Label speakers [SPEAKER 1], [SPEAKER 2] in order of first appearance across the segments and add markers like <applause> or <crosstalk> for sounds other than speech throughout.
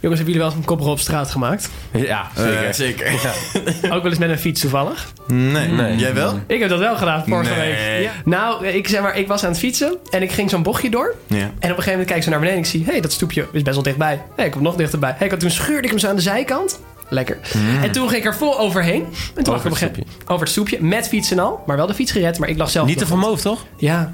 [SPEAKER 1] Jongens, hebben jullie wel eens een kopper op straat gemaakt?
[SPEAKER 2] Ja, zeker. zeker.
[SPEAKER 1] Ook wel eens met een fiets toevallig?
[SPEAKER 2] Nee, nee. Jij wel?
[SPEAKER 1] Ik heb dat wel gedaan vorige
[SPEAKER 2] Nee.
[SPEAKER 1] week. Nou, ik zeg maar, ik was aan het fietsen en ik ging zo'n bochtje door.
[SPEAKER 2] Ja.
[SPEAKER 1] En op een gegeven moment kijk ik zo naar beneden en ik zie... hé, hey, dat stoepje is best wel dichtbij. Hé, hey, ik kom nog dichterbij. Hé, hey, toen scheurde ik hem zo aan de zijkant. Lekker. En toen ging ik er vol overheen. En toen over,
[SPEAKER 2] Mm. het
[SPEAKER 1] over het stoepje, met fiets en al. Maar wel de fiets gered, maar ik lag zelf...
[SPEAKER 2] Niet te
[SPEAKER 1] nog.
[SPEAKER 2] vermoofd, toch?
[SPEAKER 1] Ja.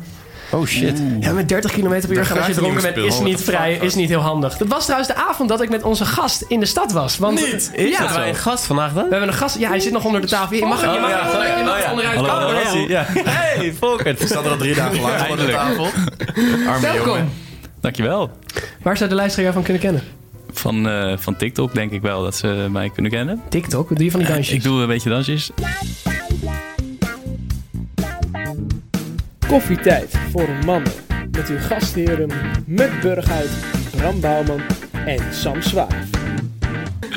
[SPEAKER 2] Oh shit.
[SPEAKER 1] ja, met 30 km per uur gaan als je
[SPEAKER 2] gaat
[SPEAKER 1] dronken
[SPEAKER 2] nieuw
[SPEAKER 1] bent... is
[SPEAKER 2] spul.
[SPEAKER 1] niet vrij, is niet heel handig. Dat was trouwens de avond dat ik met onze gast in de stad was. Want,
[SPEAKER 2] Niet. Is
[SPEAKER 1] ja,
[SPEAKER 2] dat zo? een gast vandaag dan?
[SPEAKER 1] we hebben een gast. Ja, hij zit nog onder de tafel. Je mag, je mag, je mag, je mag onderuit
[SPEAKER 2] Hallo,
[SPEAKER 1] komen.
[SPEAKER 2] daar is hij. Ja. Hey, Volkert. We staan er al drie dagen lang aan de tafel.
[SPEAKER 3] <laughs>
[SPEAKER 1] Welkom.
[SPEAKER 3] Dankjewel.
[SPEAKER 1] Waar zou de luisteraar jou van kunnen kennen?
[SPEAKER 3] Van, eh, van TikTok denk ik wel dat ze mij kunnen kennen.
[SPEAKER 1] TikTok, wat doe je van die dansjes?
[SPEAKER 3] Ik doe een beetje dansjes.
[SPEAKER 4] Koffietijd voor mannen. Met uw gastheren Muk Burghuis, Bram Bouwman en Sam Zwaar.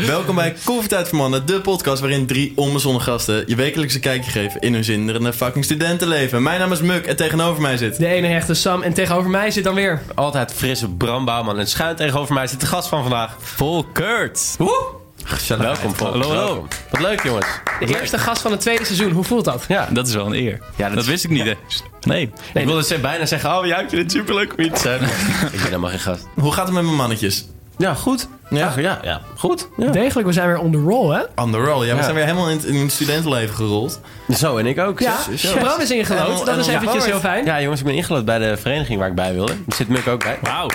[SPEAKER 5] Welkom bij Koffietijd voor Mannen, de podcast waarin drie onbezonnen gasten je wekelijkse kijkje geven in hun zinderende fucking studentenleven. Mijn naam is Muk en tegenover mij zit.
[SPEAKER 1] De ene hechte Sam en tegenover mij zit dan weer.
[SPEAKER 2] Altijd frisse Bram Bouwman. En schuin tegenover mij zit de gast van vandaag. Volkert. Woe. Gezellig. Welkom, Volkert.
[SPEAKER 3] Hallo, hallo.
[SPEAKER 2] Welkom. Wat leuk, jongens.
[SPEAKER 1] De eerste gast van het tweede seizoen. Hoe voelt dat?
[SPEAKER 2] Ja.
[SPEAKER 3] Dat is wel een eer.
[SPEAKER 2] Ja, dat
[SPEAKER 3] dat
[SPEAKER 2] is-
[SPEAKER 3] wist ik niet, hè? Nee.
[SPEAKER 2] ik wilde ze bijna zeggen, oh, jij hebt je dit superleuk om je te zijn. <laughs> ik ben helemaal geen gast.
[SPEAKER 5] Hoe gaat het met mijn mannetjes?
[SPEAKER 2] Ja, goed. Ja,
[SPEAKER 5] Ja?
[SPEAKER 2] ja, ja. Goed. Ja.
[SPEAKER 1] Degelijk, we zijn weer on the roll, hè?
[SPEAKER 5] On the roll. Ja, we
[SPEAKER 2] Ja.
[SPEAKER 5] zijn weer helemaal in het, in het studentenleven gerold.
[SPEAKER 2] Zo, en ik ook.
[SPEAKER 1] Ja,
[SPEAKER 2] Zo, zo.
[SPEAKER 1] Bram is
[SPEAKER 5] En
[SPEAKER 1] ingelood.
[SPEAKER 5] on-
[SPEAKER 1] Dat
[SPEAKER 5] en
[SPEAKER 1] is
[SPEAKER 5] on-
[SPEAKER 1] eventjes heel fijn.
[SPEAKER 2] Ja, jongens, ik ben ingelood bij de vereniging waar ik bij wilde. Daar zit Muk ook bij.
[SPEAKER 3] Wauw.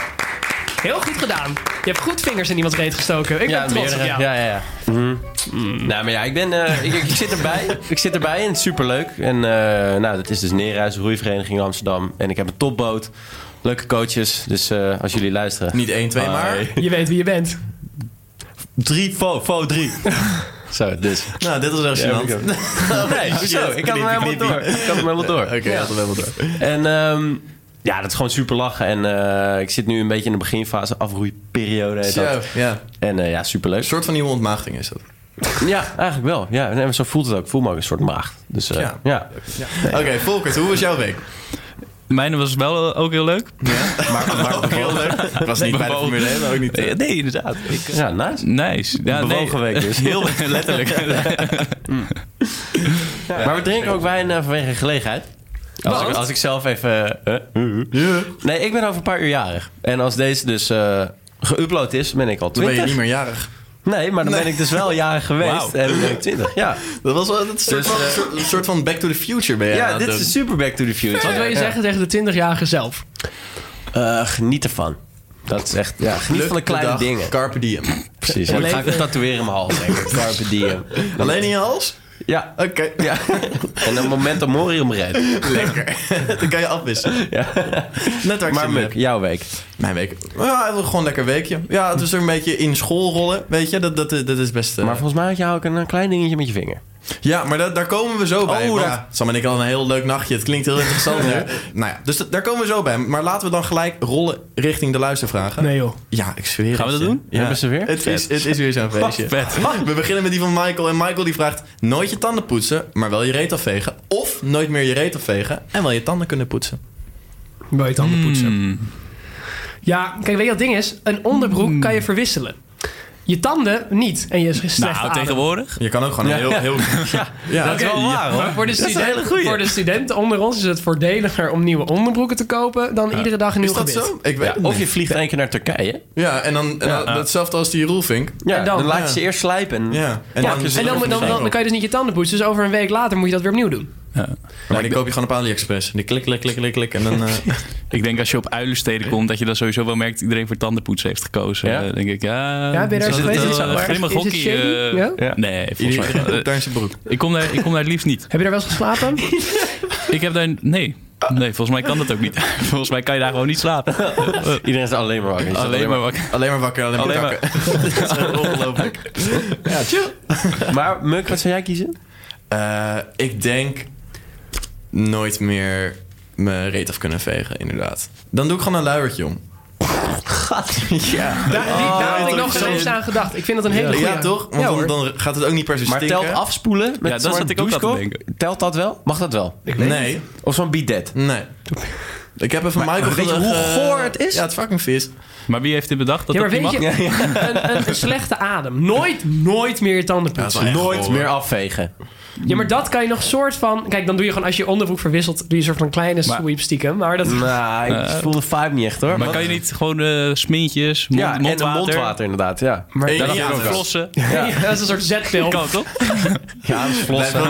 [SPEAKER 1] Heel goed gedaan. Je hebt goed vingers in iemands reet gestoken. Ik ben trots op
[SPEAKER 2] meerdere.
[SPEAKER 1] jou.
[SPEAKER 2] Ja, ja, ja. Nou, maar ja, ik ben... eh, ik, ik zit <laughs> erbij. ik zit erbij en het is superleuk. En eh, nou, dat is dus Neerhuis, roeivereniging Amsterdam. En ik heb een topboot. Leuke coaches. Dus eh, als jullie luisteren...
[SPEAKER 5] Niet 1, 2,
[SPEAKER 2] Hi.
[SPEAKER 5] maar.
[SPEAKER 1] Je weet wie je bent.
[SPEAKER 5] Drie, fo, fo,
[SPEAKER 2] <laughs>
[SPEAKER 5] drie.
[SPEAKER 2] Zo, dus.
[SPEAKER 5] nou, dit was echt
[SPEAKER 2] Ja,
[SPEAKER 5] gênant.
[SPEAKER 2] heb ik ook. nee, zo. Ik had hem helemaal door. Ik had hem helemaal door. <laughs>
[SPEAKER 5] Oké, dat hadden we <laughs> wel door.
[SPEAKER 2] En ehm, ja, dat is gewoon super lachen. En eh, ik zit nu een beetje in de beginfase, afroeiperiode. heet dat.
[SPEAKER 5] Zo, ja.
[SPEAKER 2] En eh, ja, superleuk.
[SPEAKER 5] Een soort van nieuwe ontmaagding is dat.
[SPEAKER 2] Ja, eigenlijk wel. Ja, nee, maar zo voelt het ook. Ik voel me ook een soort maagd. Dus eh,
[SPEAKER 5] Ja.
[SPEAKER 2] ja.
[SPEAKER 5] Oké, Volkert, hoe was jouw week?
[SPEAKER 3] Mijn was wel eh, ook heel leuk.
[SPEAKER 5] <laughs> Ook heel leuk. Ik was niet bij de Formule 1, maar ook niet.
[SPEAKER 3] Eh, Nee, inderdaad. Ik, eh,
[SPEAKER 2] Ja, nice.
[SPEAKER 3] Nice. Ja,
[SPEAKER 2] Een bewogen
[SPEAKER 3] nee.
[SPEAKER 2] week dus.
[SPEAKER 3] Heel <laughs> letterlijk.
[SPEAKER 2] <laughs> Maar we drinken ook wijn eh, vanwege gelegenheid. Als ik, als ik zelf even... eh, eh, Nee, ik ben over een paar uur jarig. En als deze dus eh geüpload is, ben ik al
[SPEAKER 5] Dan ben je
[SPEAKER 2] 20.
[SPEAKER 5] niet meer jarig.
[SPEAKER 2] Nee, maar dan ben ik dus wel
[SPEAKER 5] <laughs>
[SPEAKER 2] jarig geweest. En ben ik 20, ja.
[SPEAKER 5] Dat was wel dat is een soort,
[SPEAKER 2] Dus,
[SPEAKER 5] van-
[SPEAKER 2] eh,
[SPEAKER 5] een soort- een soort van Back to the Future ben je aan
[SPEAKER 2] Ja,
[SPEAKER 5] het
[SPEAKER 2] dit
[SPEAKER 5] doen.
[SPEAKER 2] is super back to the future.
[SPEAKER 1] Wat wil je zeggen tegen de 20-jarige zelf?
[SPEAKER 2] Eh, geniet ervan. Dat is echt... Ja, geniet van de
[SPEAKER 5] Pluk
[SPEAKER 2] kleine
[SPEAKER 5] dag,
[SPEAKER 2] dingen.
[SPEAKER 5] Carpe diem.
[SPEAKER 2] Precies. En ik ga ik het tatoeëren in mijn hals, denk ik. Carpe diem.
[SPEAKER 5] Alleen in je hals?
[SPEAKER 2] Ja.
[SPEAKER 5] Oké.
[SPEAKER 2] <laughs> Ja. En dan moment dat Morium rijdt. <laughs>
[SPEAKER 5] Lekker. Dan kan je afwisselen.
[SPEAKER 2] Ja.
[SPEAKER 5] Net waar ik
[SPEAKER 2] <laughs>
[SPEAKER 5] zin
[SPEAKER 2] Maar
[SPEAKER 5] in
[SPEAKER 2] Muk,
[SPEAKER 5] heb.
[SPEAKER 2] jouw week.
[SPEAKER 5] Mijn week. Ja, het was gewoon een lekker weekje. Ja, het was er een beetje in school rollen. Weet je, dat, dat, dat is best... eh,
[SPEAKER 2] Maar volgens mij had jij ook een eh, klein dingetje met je vinger.
[SPEAKER 5] Ja, maar da- daar komen we zo bij.
[SPEAKER 2] Oh,
[SPEAKER 5] want
[SPEAKER 2] daar-
[SPEAKER 5] Sam en ik hadden een heel leuk nachtje. Het klinkt heel
[SPEAKER 2] <laughs>
[SPEAKER 5] interessant. hè? Nou ja, dus da- daar komen we zo bij. Maar laten we dan gelijk rollen richting de luistervragen.
[SPEAKER 1] Nee joh.
[SPEAKER 5] Ja, ik zweer
[SPEAKER 3] Gaan we
[SPEAKER 5] het
[SPEAKER 3] dat
[SPEAKER 5] je.
[SPEAKER 3] doen?
[SPEAKER 5] Ja.
[SPEAKER 2] Hebben ze weer?
[SPEAKER 5] Het is, het is weer zo'n feestje.
[SPEAKER 3] Vet.
[SPEAKER 5] We beginnen met die van Michael. En Michael die vraagt: nooit je tanden poetsen, maar wel je reet afvegen. Of nooit meer je reet afvegen en wel je tanden kunnen poetsen.
[SPEAKER 1] Wil je tanden poetsen? Ja, kijk, weet je wat het ding is? Een onderbroek kan je verwisselen. Je tanden niet. En je slechte
[SPEAKER 3] Nou,
[SPEAKER 1] adem.
[SPEAKER 3] tegenwoordig.
[SPEAKER 5] Je kan ook gewoon heel, <laughs> heel. Ja,
[SPEAKER 2] Dat is wel waar, hoor.
[SPEAKER 1] Maar voor de, studenten,
[SPEAKER 2] goeie.
[SPEAKER 1] voor de studenten onder ons is het voordeliger om nieuwe onderbroeken te kopen dan iedere dag een nieuw
[SPEAKER 5] Is dat
[SPEAKER 1] gebit.
[SPEAKER 5] zo? Ik weet
[SPEAKER 2] Ja,
[SPEAKER 5] het
[SPEAKER 2] of
[SPEAKER 5] niet.
[SPEAKER 2] je vliegt één keer naar Turkije.
[SPEAKER 5] Ja, en dan, en dan hetzelfde als die Roelvink.
[SPEAKER 2] Ja,
[SPEAKER 1] En
[SPEAKER 2] dan,
[SPEAKER 1] dan-
[SPEAKER 2] laat je
[SPEAKER 5] ja.
[SPEAKER 2] ze eerst slijpen. En,
[SPEAKER 5] Ja, en
[SPEAKER 1] Ja,
[SPEAKER 5] dan,
[SPEAKER 1] en dan, dan, dan, dan kan je dus niet je tanden poetsen. Dus over een week later moet je dat weer opnieuw doen.
[SPEAKER 5] Maar die koop je gewoon op AliExpress. En die klik, klik, klik, klik, klik. En dan. eh,
[SPEAKER 3] Ik denk als je op uilensteden komt, dat je dan sowieso wel merkt... dat iedereen voor tandenpoetsen heeft gekozen.
[SPEAKER 2] Ja?
[SPEAKER 3] Eh, denk ik, ja...
[SPEAKER 1] Ja, ben je daar
[SPEAKER 3] is
[SPEAKER 1] eens
[SPEAKER 3] dat
[SPEAKER 1] geweest?
[SPEAKER 3] wel
[SPEAKER 1] Is het-
[SPEAKER 3] een
[SPEAKER 1] maar-
[SPEAKER 3] grimmig
[SPEAKER 1] is het
[SPEAKER 3] hockey,
[SPEAKER 1] shady?
[SPEAKER 3] eh,
[SPEAKER 1] Ja?
[SPEAKER 2] Ja.
[SPEAKER 3] Nee, volgens mij.
[SPEAKER 5] iedereen
[SPEAKER 3] eh,
[SPEAKER 5] daar in zijn broek.
[SPEAKER 3] ik, kom daar, ik kom daar het liefst niet.
[SPEAKER 1] Heb je daar wel eens geslapen?
[SPEAKER 3] Ik heb daar... Nee. Nee, volgens mij kan dat ook niet. <laughs> Volgens mij kan je daar gewoon niet slapen.
[SPEAKER 2] Iedereen is
[SPEAKER 5] <laughs>
[SPEAKER 2] alleen maar wakker. Je zit
[SPEAKER 3] Alleen maar wakker.
[SPEAKER 5] Alleen maar wakker, alleen maar
[SPEAKER 3] Alleen
[SPEAKER 5] kakken. <laughs>
[SPEAKER 3] maar.
[SPEAKER 5] Dat is echt ongelooflijk.
[SPEAKER 2] Ja, chill. <laughs> maar Muk, wat zou jij kiezen?
[SPEAKER 5] Eh, ik denk nooit meer mijn reet af kunnen vegen, inderdaad. Dan doe ik gewoon een luiertje om.
[SPEAKER 2] <laughs>
[SPEAKER 1] Daar, Ah, die, daar had ik
[SPEAKER 5] Oh, dat
[SPEAKER 1] nog
[SPEAKER 5] is
[SPEAKER 1] geen eens
[SPEAKER 5] zo'n-
[SPEAKER 1] aan gedacht. Ik vind dat een hele goeie.
[SPEAKER 5] Ja, toch? Want
[SPEAKER 1] Ja,
[SPEAKER 5] dan,
[SPEAKER 1] hoor.
[SPEAKER 5] dan gaat het ook niet per se
[SPEAKER 2] Maar
[SPEAKER 5] stinken.
[SPEAKER 2] telt afspoelen met
[SPEAKER 3] dat
[SPEAKER 2] zo'n
[SPEAKER 3] zat ik ook aan te
[SPEAKER 2] douchekop?
[SPEAKER 3] denken.
[SPEAKER 2] Telt dat wel? Mag dat wel?
[SPEAKER 5] Nee,
[SPEAKER 2] Of zo'n bidet?
[SPEAKER 5] nee. Ik heb even Michael
[SPEAKER 2] weet je
[SPEAKER 5] gelukkig,
[SPEAKER 2] hoe
[SPEAKER 5] eh,
[SPEAKER 2] goor het is?
[SPEAKER 5] Ja, het is fucking vies.
[SPEAKER 3] Maar wie heeft dit bedacht? Dat
[SPEAKER 1] Ja, maar
[SPEAKER 3] dat
[SPEAKER 1] weet
[SPEAKER 3] niet
[SPEAKER 1] je,
[SPEAKER 3] mag?
[SPEAKER 1] Een, een slechte adem. Nooit, nooit meer je tanden
[SPEAKER 5] Ja, dat is
[SPEAKER 1] poetsen.
[SPEAKER 5] wel echt
[SPEAKER 2] Nooit
[SPEAKER 5] goor.
[SPEAKER 2] meer afvegen.
[SPEAKER 1] Ja, maar dat kan je nog soort van... Kijk, dan doe je gewoon... Als je je onderbroek verwisselt, doe je een soort van kleine sweep stiekem. Maar dat...
[SPEAKER 2] Nou, ik voel de vibe niet echt hoor.
[SPEAKER 3] Maar
[SPEAKER 2] Wat-
[SPEAKER 3] kan je niet gewoon eh smintjes, mond,
[SPEAKER 2] ja, en een
[SPEAKER 3] mondwater,
[SPEAKER 2] mondwater inderdaad, ja.
[SPEAKER 1] Maar
[SPEAKER 5] Eén
[SPEAKER 1] dat,
[SPEAKER 2] <laughs>
[SPEAKER 5] jaar
[SPEAKER 3] eh,
[SPEAKER 5] wel.
[SPEAKER 3] flossen?
[SPEAKER 1] <laughs> dat is een soort zetpil.
[SPEAKER 3] Kan toch?
[SPEAKER 2] Ja, dat is flossen.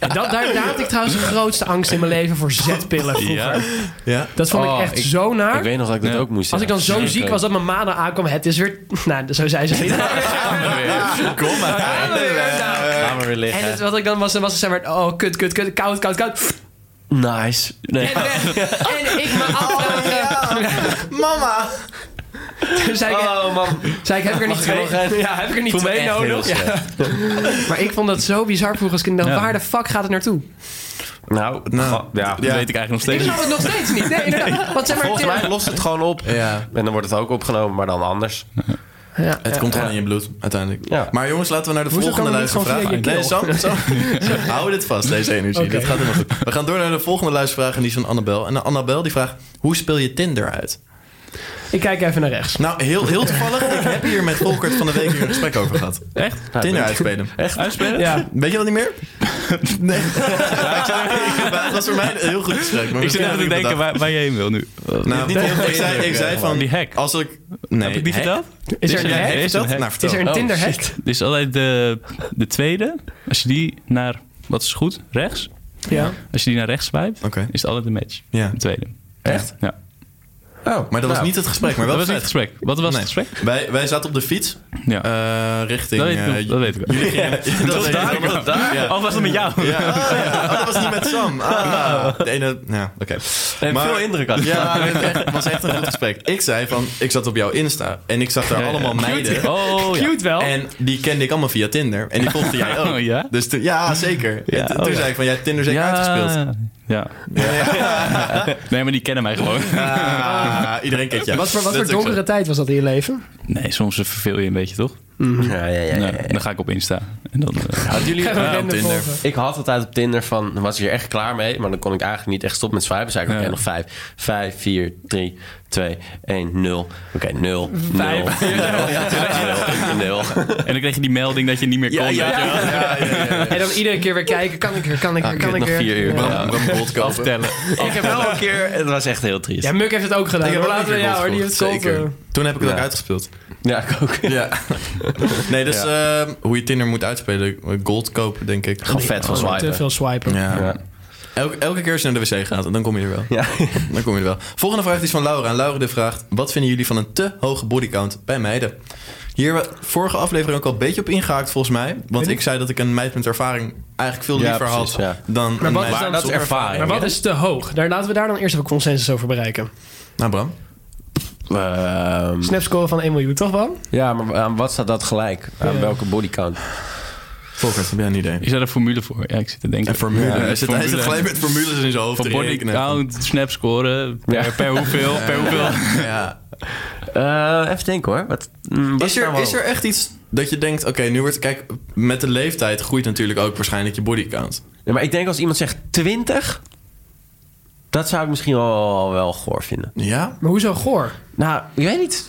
[SPEAKER 1] Dat, daar, daar had ik trouwens de grootste angst in mijn leven voor zetpillen vroeger.
[SPEAKER 5] Ja.
[SPEAKER 1] Dat vond
[SPEAKER 2] Oh,
[SPEAKER 1] ik echt
[SPEAKER 2] ik-
[SPEAKER 1] zo naar.
[SPEAKER 2] Ik weet nog dat ik dat ook moest
[SPEAKER 1] Als ik dan zo
[SPEAKER 2] zeggen.
[SPEAKER 1] ziek was dat mijn ma dan aankwam, het is weer... <laughs> Nou, zo zei ze niet.
[SPEAKER 5] Kom maar.
[SPEAKER 1] Ja, maar weer, ja.
[SPEAKER 2] Ga maar weer liggen.
[SPEAKER 1] En het, wat ik dan was, was ze zei maar, oh, kut, kut, kut, koud, koud, koud.
[SPEAKER 2] Nice. Nee.
[SPEAKER 1] En, weg. en ik
[SPEAKER 2] Oh,
[SPEAKER 1] me afvragen.
[SPEAKER 5] Mama.
[SPEAKER 1] Toen zei ik,
[SPEAKER 2] Oh man,
[SPEAKER 1] zei ik, heb ik er niet
[SPEAKER 2] Mag ik nog
[SPEAKER 1] twee,
[SPEAKER 2] een?
[SPEAKER 1] ja, heb ik er niet
[SPEAKER 2] voel me
[SPEAKER 1] twee
[SPEAKER 2] echt heel
[SPEAKER 1] nodig? Ja.
[SPEAKER 2] slecht.
[SPEAKER 1] Maar ik vond dat zo bizar vroeger als kind. Dan,
[SPEAKER 3] Ja.
[SPEAKER 1] Waar de fuck gaat het naartoe?
[SPEAKER 2] Nou,
[SPEAKER 5] Nou,
[SPEAKER 2] ja.
[SPEAKER 3] Dat weet ik eigenlijk nog
[SPEAKER 1] Ik
[SPEAKER 3] steeds
[SPEAKER 1] snap
[SPEAKER 3] niet.
[SPEAKER 1] het nog steeds niet. Nee, inderdaad. Want zeg maar,
[SPEAKER 2] Volgens mij lost het gewoon op.
[SPEAKER 5] Ja.
[SPEAKER 2] En dan wordt het ook opgenomen, maar dan anders.
[SPEAKER 1] Ja,
[SPEAKER 5] Het
[SPEAKER 1] ja.
[SPEAKER 5] komt gewoon in je bloed, uiteindelijk.
[SPEAKER 2] Ja.
[SPEAKER 5] Maar jongens, laten we naar de
[SPEAKER 1] Hoezo
[SPEAKER 5] volgende
[SPEAKER 1] kan het niet
[SPEAKER 5] luistervraag.
[SPEAKER 1] gewoon via
[SPEAKER 5] Nee,
[SPEAKER 1] je
[SPEAKER 5] Sam, Sam, <laughs> hou dit vast, deze energie.
[SPEAKER 1] Oké.
[SPEAKER 5] Dit gaat helemaal goed. We gaan door naar de volgende luistervraag en die is van Annabel. En Annabel die vraagt, hoe speel je Tinder uit?
[SPEAKER 1] Ik kijk even naar rechts.
[SPEAKER 5] Nou, heel, heel toevallig. ik heb hier met Volkert van de week hier een gesprek over gehad.
[SPEAKER 3] Echt?
[SPEAKER 5] Tinder uitspelen.
[SPEAKER 3] Uitspelen?
[SPEAKER 1] Ja.
[SPEAKER 5] Weet je dat niet
[SPEAKER 3] <laughs>
[SPEAKER 5] meer? Nee. Het was voor mij een heel goed gesprek. maar
[SPEAKER 3] Ik
[SPEAKER 5] misschien
[SPEAKER 3] zit echt
[SPEAKER 5] had
[SPEAKER 3] te denken
[SPEAKER 5] bedacht.
[SPEAKER 3] waar, waar je heen wil nu.
[SPEAKER 5] Nou,
[SPEAKER 2] niet heel veel
[SPEAKER 5] ik zei, ik
[SPEAKER 2] indruk,
[SPEAKER 5] zei
[SPEAKER 2] ja,
[SPEAKER 5] van...
[SPEAKER 3] Die hack.
[SPEAKER 5] Als ik... Nee.
[SPEAKER 3] Heb ik die
[SPEAKER 5] hack?
[SPEAKER 3] verteld?
[SPEAKER 1] Is er een
[SPEAKER 3] Dit
[SPEAKER 5] Ja,
[SPEAKER 3] een hack?
[SPEAKER 1] hack?
[SPEAKER 5] heeft dat?
[SPEAKER 3] hack.
[SPEAKER 5] Nou,
[SPEAKER 1] Is er
[SPEAKER 5] vertel.
[SPEAKER 1] een
[SPEAKER 2] Oh,
[SPEAKER 1] Tinder-hack?
[SPEAKER 3] Dit is altijd de, de tweede. Als je die naar, wat is goed, rechts.
[SPEAKER 1] Ja.
[SPEAKER 3] Als je die naar rechts swipe,
[SPEAKER 5] Oké.
[SPEAKER 3] is het altijd een match.
[SPEAKER 5] Ja.
[SPEAKER 3] De tweede.
[SPEAKER 2] Echt?
[SPEAKER 3] Ja.
[SPEAKER 2] Oh,
[SPEAKER 5] Maar dat was niet het gesprek, maar wel
[SPEAKER 3] Nou. dat was niet het
[SPEAKER 5] vet.
[SPEAKER 3] gesprek. Wat was
[SPEAKER 5] Nee.
[SPEAKER 3] het gesprek?
[SPEAKER 5] Wij, wij zaten op de fiets
[SPEAKER 3] Ja.
[SPEAKER 5] eh, richting...
[SPEAKER 3] dat, weet ik, nog,
[SPEAKER 5] eh, <laughs>
[SPEAKER 3] dat weet ik <laughs> wel.
[SPEAKER 5] jullie gingen- dat weet ik ook. Ja.
[SPEAKER 3] Of was dat met jou?
[SPEAKER 5] Ja. Oh, ja. Oh, dat was niet met Sam. Ah, de ene... Ja, oké. Maar-
[SPEAKER 2] veel indruk had.
[SPEAKER 5] Ja, het was echt een goed gesprek. Ik zei van... Ik zat op jouw Insta en ik zag daar allemaal meiden...
[SPEAKER 3] Oh, ja.
[SPEAKER 1] Cute wel.
[SPEAKER 5] En die kende ik allemaal via Tinder. En die volgde jij ook.
[SPEAKER 3] Oh, ja?
[SPEAKER 5] Dus toen, ja, zeker. En toen
[SPEAKER 3] oh,
[SPEAKER 5] toen
[SPEAKER 3] ja.
[SPEAKER 5] zei ik van, jij hebt Tinder zeker
[SPEAKER 3] <laughs>
[SPEAKER 5] uitgespeeld.
[SPEAKER 3] Ja. <laughs> Nee, maar die kennen mij gewoon.
[SPEAKER 5] Ah, iedereen kent je.
[SPEAKER 1] Wat voor, wat voor donkere tijd was dat in je leven?
[SPEAKER 3] Nee, soms verveel je een beetje, toch?
[SPEAKER 2] Ja, ja, ja.
[SPEAKER 3] Nee, dan ga ik op Insta. En dan, eh, <laughs>
[SPEAKER 2] Hadden jullie...
[SPEAKER 1] Even
[SPEAKER 5] op
[SPEAKER 1] random
[SPEAKER 5] Tinder.
[SPEAKER 1] volgen.
[SPEAKER 2] Ik had altijd op Tinder van, dan was ik er echt klaar mee, maar dan kon ik eigenlijk niet echt stoppen met swipen. Zei ik, oké,
[SPEAKER 3] Ja.
[SPEAKER 2] nog vijf, vijf, vier, drie, twee, één, nul. Oké, nul, nul,
[SPEAKER 3] Vijf.
[SPEAKER 2] nul, ja, nul, nul.
[SPEAKER 3] en dan kreeg je die melding dat je niet meer kon.
[SPEAKER 5] Ja, ja,
[SPEAKER 3] weet je wel.
[SPEAKER 5] ja, ja, ja, ja.
[SPEAKER 1] En dan iedere keer weer kijken, kan ik er, kan ik er, kan
[SPEAKER 2] Kut,
[SPEAKER 1] ik
[SPEAKER 2] Ah, nog
[SPEAKER 1] er.
[SPEAKER 2] vier uur.
[SPEAKER 5] Bram, Bram Bolt kopen.
[SPEAKER 3] Vertellen.
[SPEAKER 2] Ik heb wel een keer, het was echt heel triest.
[SPEAKER 1] Ja, Muk heeft het ook gedaan.
[SPEAKER 5] Ik heb
[SPEAKER 1] hoor.
[SPEAKER 5] ook
[SPEAKER 1] Laten we-
[SPEAKER 5] een keer
[SPEAKER 1] ja hoor, die heeft het
[SPEAKER 5] gevolgd, zeker.
[SPEAKER 1] geholpen.
[SPEAKER 5] Toen heb ik het ook
[SPEAKER 2] Ja.
[SPEAKER 5] uitgespeeld.
[SPEAKER 2] Ja, ik ook.
[SPEAKER 5] Ja. <laughs> Nee, dus ehm, hoe je Tinder moet uitspelen. Gold kopen, denk ik.
[SPEAKER 2] Gewoon vet van
[SPEAKER 1] eh, Oh, Te
[SPEAKER 2] swipen.
[SPEAKER 1] veel swipen.
[SPEAKER 5] Ja.
[SPEAKER 2] Ja.
[SPEAKER 5] Elke, elke keer als je naar de wc gaat, dan kom je er wel.
[SPEAKER 2] Ja.
[SPEAKER 5] Dan kom je er wel. Volgende vraag is van Laura. En Laura die vraagt... Wat vinden jullie van een te hoge bodycount bij meiden? Hier hebben we vorige aflevering ook al een beetje op ingehaakt, volgens mij. Want ik zei dat ik een meid met ervaring eigenlijk veel
[SPEAKER 2] Ja,
[SPEAKER 5] liever
[SPEAKER 2] precies,
[SPEAKER 5] had
[SPEAKER 2] ja.
[SPEAKER 5] dan een
[SPEAKER 1] wat
[SPEAKER 5] meid
[SPEAKER 1] is dan
[SPEAKER 5] zonder
[SPEAKER 2] Dat is ervaring.
[SPEAKER 1] Maar wat is te hoog? Daar laten we daar dan eerst even consensus over bereiken.
[SPEAKER 5] Nou, Bram.
[SPEAKER 2] Ehm,
[SPEAKER 1] Snapscore van 1 miljoen, toch wel?
[SPEAKER 2] ja, maar aan wat staat dat gelijk? Aan welke bodycount?
[SPEAKER 5] Volkert, heb jij een idee?
[SPEAKER 3] Is daar een formule voor? Ja, ik zit te denken.
[SPEAKER 5] Een formule.
[SPEAKER 3] Ja,
[SPEAKER 5] hij, zit, hij zit
[SPEAKER 3] formule.
[SPEAKER 5] gelijk met formules in zijn hoofd
[SPEAKER 3] Van
[SPEAKER 5] te
[SPEAKER 3] body
[SPEAKER 5] rekenen.
[SPEAKER 3] count, snap scoren, per, per hoeveel, per hoeveel.
[SPEAKER 5] Ja.
[SPEAKER 2] Eh, even denken hoor. Wat, mm, wat
[SPEAKER 5] Is, er,
[SPEAKER 2] nou
[SPEAKER 5] is
[SPEAKER 2] hoog?
[SPEAKER 5] er echt iets dat je denkt... Oké, nu wordt... Kijk, met de leeftijd groeit natuurlijk ook waarschijnlijk je bodycount.
[SPEAKER 2] Ja, maar ik denk als iemand zegt 20, dat zou ik misschien wel, wel goor vinden.
[SPEAKER 5] Ja?
[SPEAKER 1] Maar hoezo goor?
[SPEAKER 2] Nou, ik weet niet.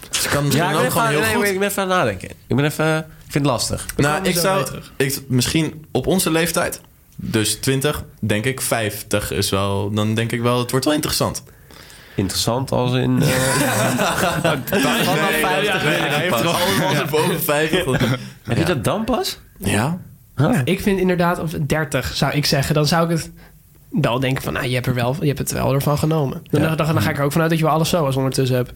[SPEAKER 5] Ze Dus kan
[SPEAKER 2] Ja,
[SPEAKER 5] misschien
[SPEAKER 2] ik ben,
[SPEAKER 5] ook
[SPEAKER 2] even,
[SPEAKER 5] gewoon
[SPEAKER 2] aan,
[SPEAKER 5] heel
[SPEAKER 2] nee,
[SPEAKER 5] goed...
[SPEAKER 2] ik ben even aan het nadenken. Ik ben even, ik vind het lastig.
[SPEAKER 5] Nou,
[SPEAKER 1] komen
[SPEAKER 5] ik
[SPEAKER 1] zo bij
[SPEAKER 5] zou...
[SPEAKER 1] terug.
[SPEAKER 5] Ik, misschien op onze leeftijd, dus 20, denk ik 50 is wel... Dan denk ik wel, het wordt wel <laughs> interessant.
[SPEAKER 2] Interessant als
[SPEAKER 5] <laughs>
[SPEAKER 2] in. eh, vanaf 50
[SPEAKER 5] nee,
[SPEAKER 2] ben ik
[SPEAKER 5] hij
[SPEAKER 2] pas.
[SPEAKER 5] heeft toch allemaal zijn boven 50.
[SPEAKER 2] Heb je dat dan pas?
[SPEAKER 5] Ja?
[SPEAKER 1] Ik vind inderdaad, of 30 zou ik zeggen, dan zou ik het wel denken van, nou, je hebt, er wel, je hebt het wel ervan genomen. Dan, dan, dan ga ik er ook vanuit dat je wel alles zo als ondertussen hebt.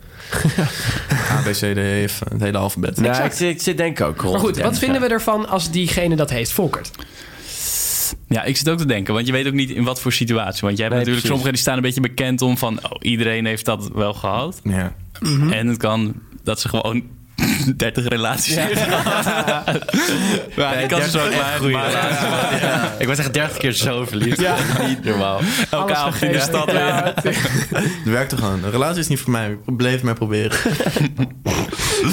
[SPEAKER 5] A, B, C, D, E, F, het hele alfabet.
[SPEAKER 2] Ja, ik, zit- ik zit denk ik ook rond.
[SPEAKER 1] Maar goed,
[SPEAKER 2] de
[SPEAKER 1] wat
[SPEAKER 2] 30.
[SPEAKER 1] vinden we ervan als diegene dat heeft, Volkert?
[SPEAKER 3] Ja, ik zit ook te denken, want je weet ook niet in wat voor situatie. Want jij hebt natuurlijk
[SPEAKER 2] Nee, precies.
[SPEAKER 3] sommigen die staan een beetje bekend om van... Oh, iedereen heeft dat wel gehad.
[SPEAKER 5] Ja.
[SPEAKER 2] Mhm.
[SPEAKER 3] En het kan dat ze gewoon <laughs> 30 relaties <laughs> hebben gehad. maar die kans is ook klein. maar-
[SPEAKER 2] Ik was echt 30 keer zo verliefd. Niet normaal.
[SPEAKER 3] Elke avond in de stad. weer.
[SPEAKER 5] Het werkt er gewoon. Een relatie is niet voor mij. Ik Bleef het maar proberen.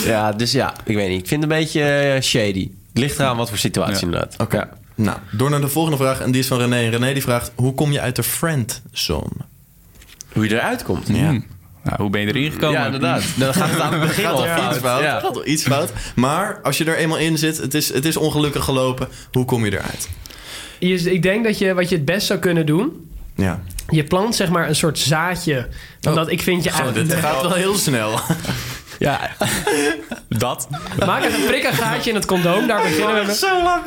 [SPEAKER 2] Ja, dus ja, ik weet niet. Ik vind het een beetje eh, shady. Het ligt eraan wat voor situatie inderdaad.
[SPEAKER 5] <laughs> Oké. Nou, door naar de volgende vraag. En die is van René. En René die vraagt, hoe kom je uit de friendzone?
[SPEAKER 2] Hoe je eruit komt.
[SPEAKER 5] Ja.
[SPEAKER 3] Nou, hoe ben je erin gekomen?
[SPEAKER 2] Ja, inderdaad. Dan gaat het aan het begin al
[SPEAKER 5] Gaat
[SPEAKER 2] fout.
[SPEAKER 5] iets fout.
[SPEAKER 2] Ja.
[SPEAKER 5] Gaat wel iets fout. Maar als je er eenmaal in zit, het is, het is ongelukkig gelopen. Hoe kom je eruit?
[SPEAKER 1] Je, ik denk dat je wat je het best zou kunnen doen.
[SPEAKER 5] Ja.
[SPEAKER 1] Je plant zeg maar een soort zaadje. Omdat ik vind je
[SPEAKER 5] Oh,
[SPEAKER 1] eigenlijk.
[SPEAKER 5] dit gaat wel heel snel.
[SPEAKER 3] Ja. dat.
[SPEAKER 1] Maak eens een prik een gaatje in het
[SPEAKER 5] <laughs>
[SPEAKER 1] condoom. Daar beginnen we mee.
[SPEAKER 2] Zo lang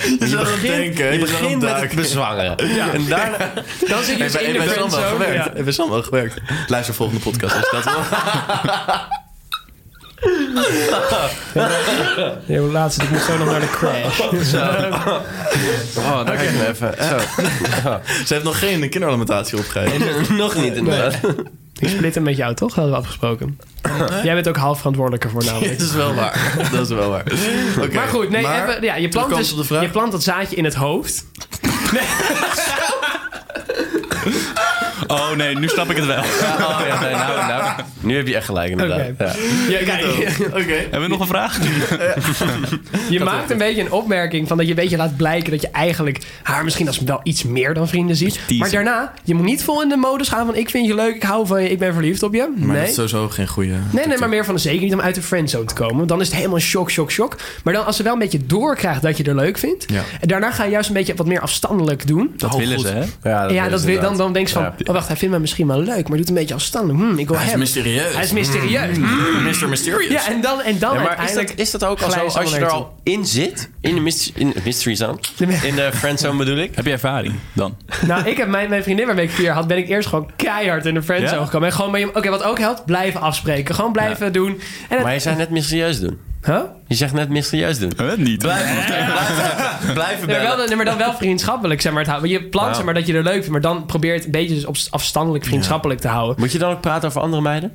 [SPEAKER 5] Je zou aan het denken.
[SPEAKER 2] Je
[SPEAKER 5] Je zou aan het
[SPEAKER 2] begint met het <laughs>
[SPEAKER 5] duiken.
[SPEAKER 2] bezwangeren. En daarna...
[SPEAKER 1] Dan zit je dus in
[SPEAKER 5] Hebben
[SPEAKER 1] de
[SPEAKER 5] we allemaal
[SPEAKER 1] friendzone.
[SPEAKER 5] gewerkt?
[SPEAKER 1] Ja.
[SPEAKER 5] Hebben we allemaal gewerkt? Luister volgende podcast. Als je dat wil.
[SPEAKER 1] Ja, hoe laatste, ik moet zo nog naar de crash.
[SPEAKER 2] Oh, daar ga ik me even. Zo.
[SPEAKER 5] <laughs> Ze heeft nog geen kinderalimentatie
[SPEAKER 2] <laughs>
[SPEAKER 5] opgegeven.
[SPEAKER 2] Nog niet inderdaad.
[SPEAKER 1] Ik split hem met jou, toch? Hadden we afgesproken. Jij bent ook half verantwoordelijk
[SPEAKER 5] <laughs>
[SPEAKER 1] ervoor namelijk.
[SPEAKER 5] Dat is wel waar. Dat is wel waar. Oké,
[SPEAKER 1] Maar goed, nee, even- ja, je, plant
[SPEAKER 5] terugkomend
[SPEAKER 1] dus,
[SPEAKER 5] op de vraag.
[SPEAKER 1] je plant dat zaadje in het hoofd.
[SPEAKER 3] Oh nee, nu snap ik het wel.
[SPEAKER 2] <laughs> Oh, <laughs> ja, nee, nou, nou. Nu heb je echt gelijk inderdaad.
[SPEAKER 1] Oké.
[SPEAKER 2] Ja.
[SPEAKER 1] Ja, kijk, <laughs>
[SPEAKER 5] Oké.
[SPEAKER 3] Hebben we nog een vraag?
[SPEAKER 2] <laughs>
[SPEAKER 1] je maakt een beetje een opmerking van dat je een beetje laat blijken dat je eigenlijk haar misschien als wel iets meer dan vrienden ziet.
[SPEAKER 3] teasen.
[SPEAKER 1] Maar daarna, je moet niet vol in de modus gaan van ik vind je leuk, ik hou van je, ik ben verliefd op je.
[SPEAKER 5] Maar dat
[SPEAKER 1] Nee.
[SPEAKER 5] is sowieso geen goede.
[SPEAKER 1] Nee, nee, maar meer van zeker niet om uit de friendzone te komen. Want Dan is het helemaal shock, shock, shock. Maar dan als ze wel een beetje doorkrijgt dat je er leuk vindt.
[SPEAKER 5] Ja.
[SPEAKER 1] En daarna ga je juist een beetje wat meer afstandelijk doen.
[SPEAKER 3] Dat
[SPEAKER 5] Oh,
[SPEAKER 3] willen
[SPEAKER 5] goed.
[SPEAKER 3] ze, hè?
[SPEAKER 2] Ja,
[SPEAKER 1] ja, dat wil-
[SPEAKER 2] is
[SPEAKER 1] dan,
[SPEAKER 2] inderdaad.
[SPEAKER 1] dan denk je van,
[SPEAKER 2] Ja.
[SPEAKER 1] oh wacht, hij vindt mij misschien wel leuk, maar doet een beetje afstandelijk. Hmm, ik wil
[SPEAKER 5] Hij is
[SPEAKER 1] hem.
[SPEAKER 5] mysterieus.
[SPEAKER 1] Hij is mysterieus.
[SPEAKER 5] Mr. Mysterious.
[SPEAKER 1] Ja, en dan, en dan
[SPEAKER 2] Ja, maar is dat,
[SPEAKER 1] uiteindelijk...
[SPEAKER 2] is dat ook al zo,
[SPEAKER 1] glijden ze
[SPEAKER 2] als je er
[SPEAKER 1] allemaal
[SPEAKER 2] al in zit, in de mystery, in de mystery
[SPEAKER 1] <laughs>
[SPEAKER 2] zone,
[SPEAKER 1] De-
[SPEAKER 2] in de friendzone bedoel ik?
[SPEAKER 3] Heb je ervaring dan?
[SPEAKER 1] Nou, ik heb mijn, mijn vriendin waarmee ik vier had, ben ik eerst gewoon keihard in de friendzone
[SPEAKER 3] Ja?
[SPEAKER 1] gekomen. En gewoon bij je- oké, wat ook helpt, blijven afspreken. Gewoon blijven doen. En het-
[SPEAKER 2] Maar je zei net mysterieus doen.
[SPEAKER 1] Huh?
[SPEAKER 2] Je zegt net mysterieus doen.
[SPEAKER 3] Huh, niet.
[SPEAKER 2] Blijven
[SPEAKER 1] Nee,
[SPEAKER 2] bellen.
[SPEAKER 1] wel, nee, maar dan wel vriendschappelijk, zeg maar. Het, hou- want je plant zeg maar dat je er leuk vindt, maar dan probeer het een beetje dus op, afstandelijk vriendschappelijk te houden.
[SPEAKER 2] Moet je dan ook praten over andere meiden?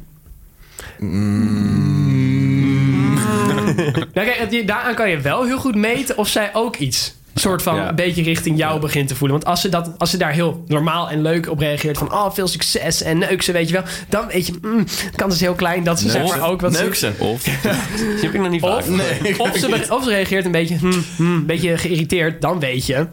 [SPEAKER 1] Nou, kijk, het- je- daaraan kan je wel heel goed meten of zij ook iets soort van
[SPEAKER 2] Ja.
[SPEAKER 1] een beetje richting jou begint te voelen. Want als ze, dat, als ze daar heel normaal en leuk op reageert van oh, veel succes en neuk ze, weet je wel. Dan weet je, mm, de kans is heel klein dat ze zeg maar ook wat...
[SPEAKER 5] Neuk ze.
[SPEAKER 3] Of
[SPEAKER 2] Die heb ik nog niet
[SPEAKER 1] Of,
[SPEAKER 2] vaak.
[SPEAKER 1] of, ze, be- of ze reageert een beetje, hmm, hmm, een beetje geïrriteerd. Dan weet je,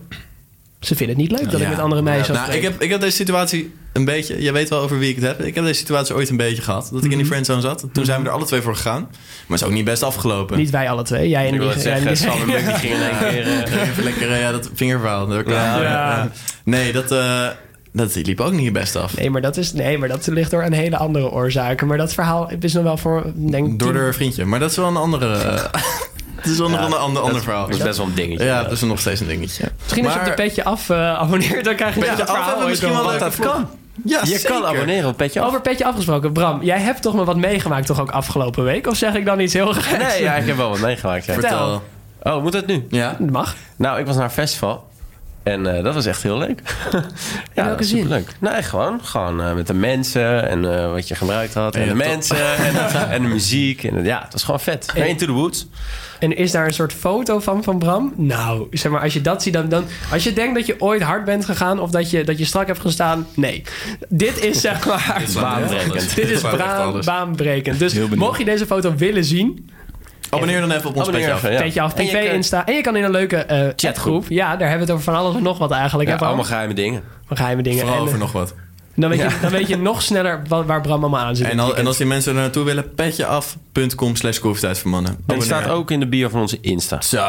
[SPEAKER 1] ze vinden het niet leuk dat ik
[SPEAKER 5] Ja.
[SPEAKER 1] met andere meisjes
[SPEAKER 5] Ja,
[SPEAKER 1] ja,
[SPEAKER 5] nou, ik, heb, ik heb deze situatie een beetje... Je weet wel over wie ik het heb. Ik heb deze situatie ooit een beetje gehad. Dat ik
[SPEAKER 1] Mhm.
[SPEAKER 5] in die friendzone zat. Toen zijn we er alle twee voor gegaan. Maar het is ook niet best afgelopen.
[SPEAKER 1] Niet wij alle twee, jij en
[SPEAKER 2] Ik
[SPEAKER 1] die.
[SPEAKER 2] wil het
[SPEAKER 1] jij en
[SPEAKER 2] zeggen,
[SPEAKER 1] die-
[SPEAKER 2] Sam en Buck die gingen in één keer... eh,
[SPEAKER 5] Even lekker eh, ja, dat vingerverhaal. Daar kwamen we.
[SPEAKER 1] Ja.
[SPEAKER 5] Nee, dat, eh, dat liep ook niet best af.
[SPEAKER 1] <laughs> Nee maar, dat is, nee, maar dat ligt door een hele andere oorzaken. Maar dat verhaal is nog wel voor, denk ik,
[SPEAKER 5] Door haar vriendje. Maar dat is wel een andere... eh, <laughs> Het is wel nog een ander, ander verhaal.
[SPEAKER 2] Dat is best wel een dingetje.
[SPEAKER 5] Ja, dat is nog steeds een dingetje.
[SPEAKER 1] Misschien als je
[SPEAKER 5] Maar-
[SPEAKER 1] op de petje af eh, abonneert, dan krijg je
[SPEAKER 5] Petje
[SPEAKER 1] dat
[SPEAKER 5] af
[SPEAKER 1] verhaal
[SPEAKER 5] hebben we
[SPEAKER 1] ooit
[SPEAKER 5] misschien
[SPEAKER 1] nog.
[SPEAKER 5] wel
[SPEAKER 1] Wat
[SPEAKER 5] leuke vlog. Ja,
[SPEAKER 2] Je kan abonneren op Petje
[SPEAKER 1] dat-
[SPEAKER 2] Af.
[SPEAKER 1] Over petje afgesproken, Bram, jij hebt toch maar wat meegemaakt toch ook afgelopen week? Of zeg ik dan iets heel geks?
[SPEAKER 2] Nee, ja, ik heb wel wat meegemaakt. ja.
[SPEAKER 5] Vertel.
[SPEAKER 2] Oh, moet dat nu?
[SPEAKER 5] Ja?
[SPEAKER 1] Dat mag.
[SPEAKER 2] Nou, ik was naar een festival. En eh, dat was echt heel leuk. <laughs> ja,
[SPEAKER 1] welke
[SPEAKER 2] dat was
[SPEAKER 1] zin?
[SPEAKER 2] superleuk. Nee, gewoon. Gewoon eh, met de mensen en eh, wat je gebruikt had. En,
[SPEAKER 5] En
[SPEAKER 2] de
[SPEAKER 5] je top. <laughs>
[SPEAKER 2] mensen en, en de muziek. En, ja, het was gewoon vet. Maar Into the Woods.
[SPEAKER 1] En is daar een soort foto van van Bram? Nou, zeg maar, als je dat ziet, dan... dan als je denkt dat je ooit hard bent gegaan of dat je, dat je strak hebt gestaan... Nee. Dit is zeg maar... <laughs>
[SPEAKER 2] Baanbrekend.
[SPEAKER 1] Dit is
[SPEAKER 5] Dit is echt
[SPEAKER 1] baan-
[SPEAKER 5] alles.
[SPEAKER 1] baanbrekend. Dus
[SPEAKER 3] Heel benieuwd.
[SPEAKER 1] mocht je deze foto willen zien...
[SPEAKER 5] Abonneer dan even op ons
[SPEAKER 2] Abonneer
[SPEAKER 5] petje af.
[SPEAKER 2] even, ja.
[SPEAKER 1] Petje af,
[SPEAKER 2] En je
[SPEAKER 1] tv,
[SPEAKER 2] kan-
[SPEAKER 1] Insta. En je kan in een leuke eh, chatgroep. Ja, daar hebben we het over van alles en nog wat eigenlijk.
[SPEAKER 2] Ja,
[SPEAKER 1] hè, Bram?
[SPEAKER 2] allemaal geheime dingen.
[SPEAKER 1] Van geheime dingen.
[SPEAKER 5] Vooral
[SPEAKER 1] En,
[SPEAKER 5] over
[SPEAKER 1] eh,
[SPEAKER 5] nog wat.
[SPEAKER 1] dan, weet je, dan weet je nog sneller wa- waar Bram allemaal aan zit.
[SPEAKER 5] En, al, en als die mensen er naartoe willen, petjeaf.com slash koffietijd voor mannen.
[SPEAKER 2] En het
[SPEAKER 5] Abonneer.
[SPEAKER 2] staat ook in de bio van onze Insta.
[SPEAKER 5] Zo.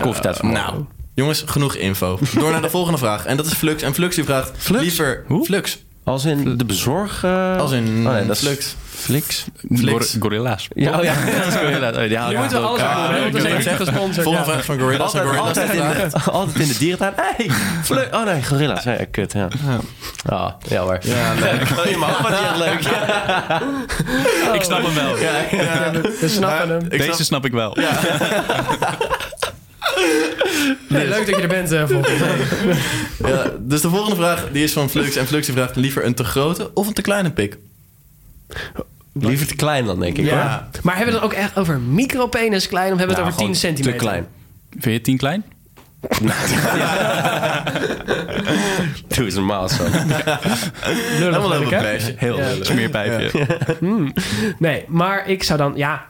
[SPEAKER 2] Koffietijd voor mannen.
[SPEAKER 5] Nou, jongens, genoeg info. Door
[SPEAKER 2] <laughs>
[SPEAKER 5] naar de volgende vraag. En dat is Flux. En Flux die vraagt liever... Flux.
[SPEAKER 2] Als in de bezorg... eh,
[SPEAKER 5] Als in
[SPEAKER 2] Oh, nee, dat is
[SPEAKER 5] Flux.
[SPEAKER 2] Flix.
[SPEAKER 5] Flix.
[SPEAKER 3] Gor- gorilla's.
[SPEAKER 2] Ja, oh ja. <laughs> dat is Gorilla. Oh, die haal
[SPEAKER 1] Je
[SPEAKER 2] ik
[SPEAKER 1] moet wel alles
[SPEAKER 2] uit elkaar.
[SPEAKER 1] aan doen, hè, want dat is
[SPEAKER 5] oké.
[SPEAKER 1] even gesponsord.
[SPEAKER 5] Ah, Volgende
[SPEAKER 1] ja.
[SPEAKER 5] vraag van Gorillas.
[SPEAKER 2] Altijd,
[SPEAKER 5] en Gorillas
[SPEAKER 2] altijd, in
[SPEAKER 5] die vraagt-
[SPEAKER 2] de, <laughs> altijd in de dierentuin. Hey, Flux. Oh nee, gorilla's. Ja, kut, ja. Ah, ja hoor. Ja, leuk. Oh, je mag wat heel leuk. Ja.
[SPEAKER 3] Ik snap hem wel.
[SPEAKER 1] We snappen hem.
[SPEAKER 5] Ik
[SPEAKER 3] Deze
[SPEAKER 5] snap-
[SPEAKER 3] snap ik wel.
[SPEAKER 1] Nee, leuk dat je er bent, eh, Volker.
[SPEAKER 5] Ja, dus de volgende vraag die is van Flux. En Flux die vraagt liever een te grote of een te kleine pik.
[SPEAKER 2] Liever te klein dan, denk ik. hoor.
[SPEAKER 5] Ja.
[SPEAKER 1] Maar hebben we het dan ook echt over micropenis klein of hebben we
[SPEAKER 2] Ja,
[SPEAKER 1] het over
[SPEAKER 2] gewoon
[SPEAKER 1] 10 centimeter?
[SPEAKER 2] Te klein.
[SPEAKER 3] Vind je het tien klein?
[SPEAKER 2] Doe eens normaal zo.
[SPEAKER 1] Lullig
[SPEAKER 5] Helemaal
[SPEAKER 1] ben
[SPEAKER 5] over
[SPEAKER 1] ik, hè?
[SPEAKER 5] prijsje. Heel leuk.
[SPEAKER 3] Smeerpijpje.
[SPEAKER 1] Nee, maar ik zou dan, ja...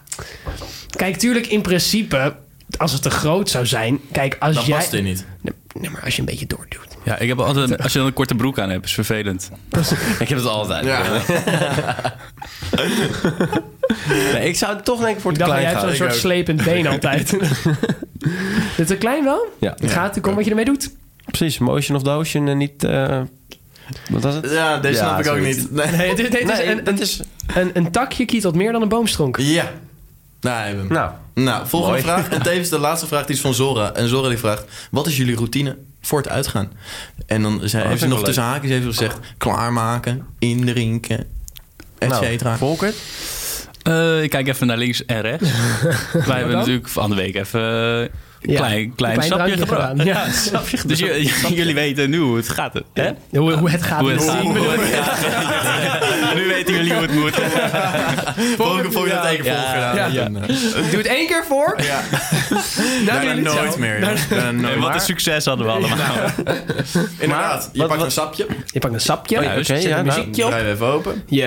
[SPEAKER 1] Kijk, tuurlijk, in principe, als het te groot zou zijn... Kijk, als
[SPEAKER 5] Dan
[SPEAKER 1] jij...
[SPEAKER 5] past hij niet.
[SPEAKER 1] Nee, nee, maar als je een beetje doorduwt.
[SPEAKER 3] Ja, ik heb altijd een- als je dan een korte broek aan hebt, is vervelend. <laughs>
[SPEAKER 2] Ik heb het altijd.
[SPEAKER 5] Ja.
[SPEAKER 2] Nee, ik zou toch denk ik voor
[SPEAKER 1] Ik
[SPEAKER 2] te
[SPEAKER 1] dacht, jij
[SPEAKER 2] klein
[SPEAKER 1] hebt
[SPEAKER 2] gaan.
[SPEAKER 1] zo'n soort
[SPEAKER 5] ook.
[SPEAKER 1] slepend been altijd. Dit te klein wel?
[SPEAKER 2] Ja.
[SPEAKER 1] Het gaat natuurlijk om wat je ermee doet.
[SPEAKER 2] Precies, Motion of the Ocean en niet... eh, wat was het?
[SPEAKER 5] Ja, deze
[SPEAKER 2] Ja,
[SPEAKER 5] snap ik ook
[SPEAKER 2] zoiets.
[SPEAKER 5] niet. Nee.
[SPEAKER 1] Nee, het is, nee, het is
[SPEAKER 2] Nee,
[SPEAKER 1] een,
[SPEAKER 2] dat is...
[SPEAKER 1] Een, een takje kietelt meer dan een boomstronk.
[SPEAKER 5] Ja. Nou, hebben we hem.
[SPEAKER 2] Nou,
[SPEAKER 5] Nou, volgende
[SPEAKER 2] Mooi. <laughs>
[SPEAKER 5] vraag. En tevens de laatste vraag die is van Zora. En Zora die vraagt: Wat is jullie routine voor het uitgaan? En dan zei, heeft
[SPEAKER 2] Oh, vind
[SPEAKER 5] ze
[SPEAKER 2] ik
[SPEAKER 5] nog
[SPEAKER 2] wel
[SPEAKER 5] tussen haakjes even gezegd: klaarmaken, indrinken, et
[SPEAKER 2] nou,
[SPEAKER 5] cetera. Ah,
[SPEAKER 2] Volker?
[SPEAKER 3] Eh, ik kijk even naar links en
[SPEAKER 1] <laughs>
[SPEAKER 3] rechts. Wij hebben
[SPEAKER 1] dan?
[SPEAKER 3] natuurlijk van de week even eh, een klein, klein sapje
[SPEAKER 1] drankje
[SPEAKER 3] gedaan.
[SPEAKER 1] gedaan. Ja.
[SPEAKER 3] Dus je- jullie weten nu hoe het gaat. Hè?
[SPEAKER 1] Hoe, hoe het gaat.
[SPEAKER 3] Hoe het
[SPEAKER 1] met
[SPEAKER 3] gaat.
[SPEAKER 1] zien.
[SPEAKER 3] Hoe het gaat. Nu weten jullie hoe het
[SPEAKER 1] <laughs>
[SPEAKER 3] moet.
[SPEAKER 5] Volgende volgende dat één keer
[SPEAKER 3] Ja.
[SPEAKER 5] volgedaan.
[SPEAKER 3] Ja.
[SPEAKER 5] En, eh,
[SPEAKER 1] Ik doe het één keer voor. <laughs>
[SPEAKER 5] Ja.
[SPEAKER 1] Nou,
[SPEAKER 5] Bijna
[SPEAKER 1] doe je het
[SPEAKER 5] nooit
[SPEAKER 1] zo.
[SPEAKER 5] meer. joh. Bijna
[SPEAKER 2] <laughs>
[SPEAKER 5] nooit.
[SPEAKER 3] En wat een succes hadden we allemaal.
[SPEAKER 5] Inderdaad, je pakt
[SPEAKER 2] wat- wat- Oh.
[SPEAKER 5] een sapje.
[SPEAKER 1] Je pakt een sapje.
[SPEAKER 3] Oh ja,
[SPEAKER 2] oké,
[SPEAKER 1] zet
[SPEAKER 2] ja,
[SPEAKER 1] een
[SPEAKER 2] nou,
[SPEAKER 1] muziekje op.
[SPEAKER 5] Draai je even open.
[SPEAKER 1] Je-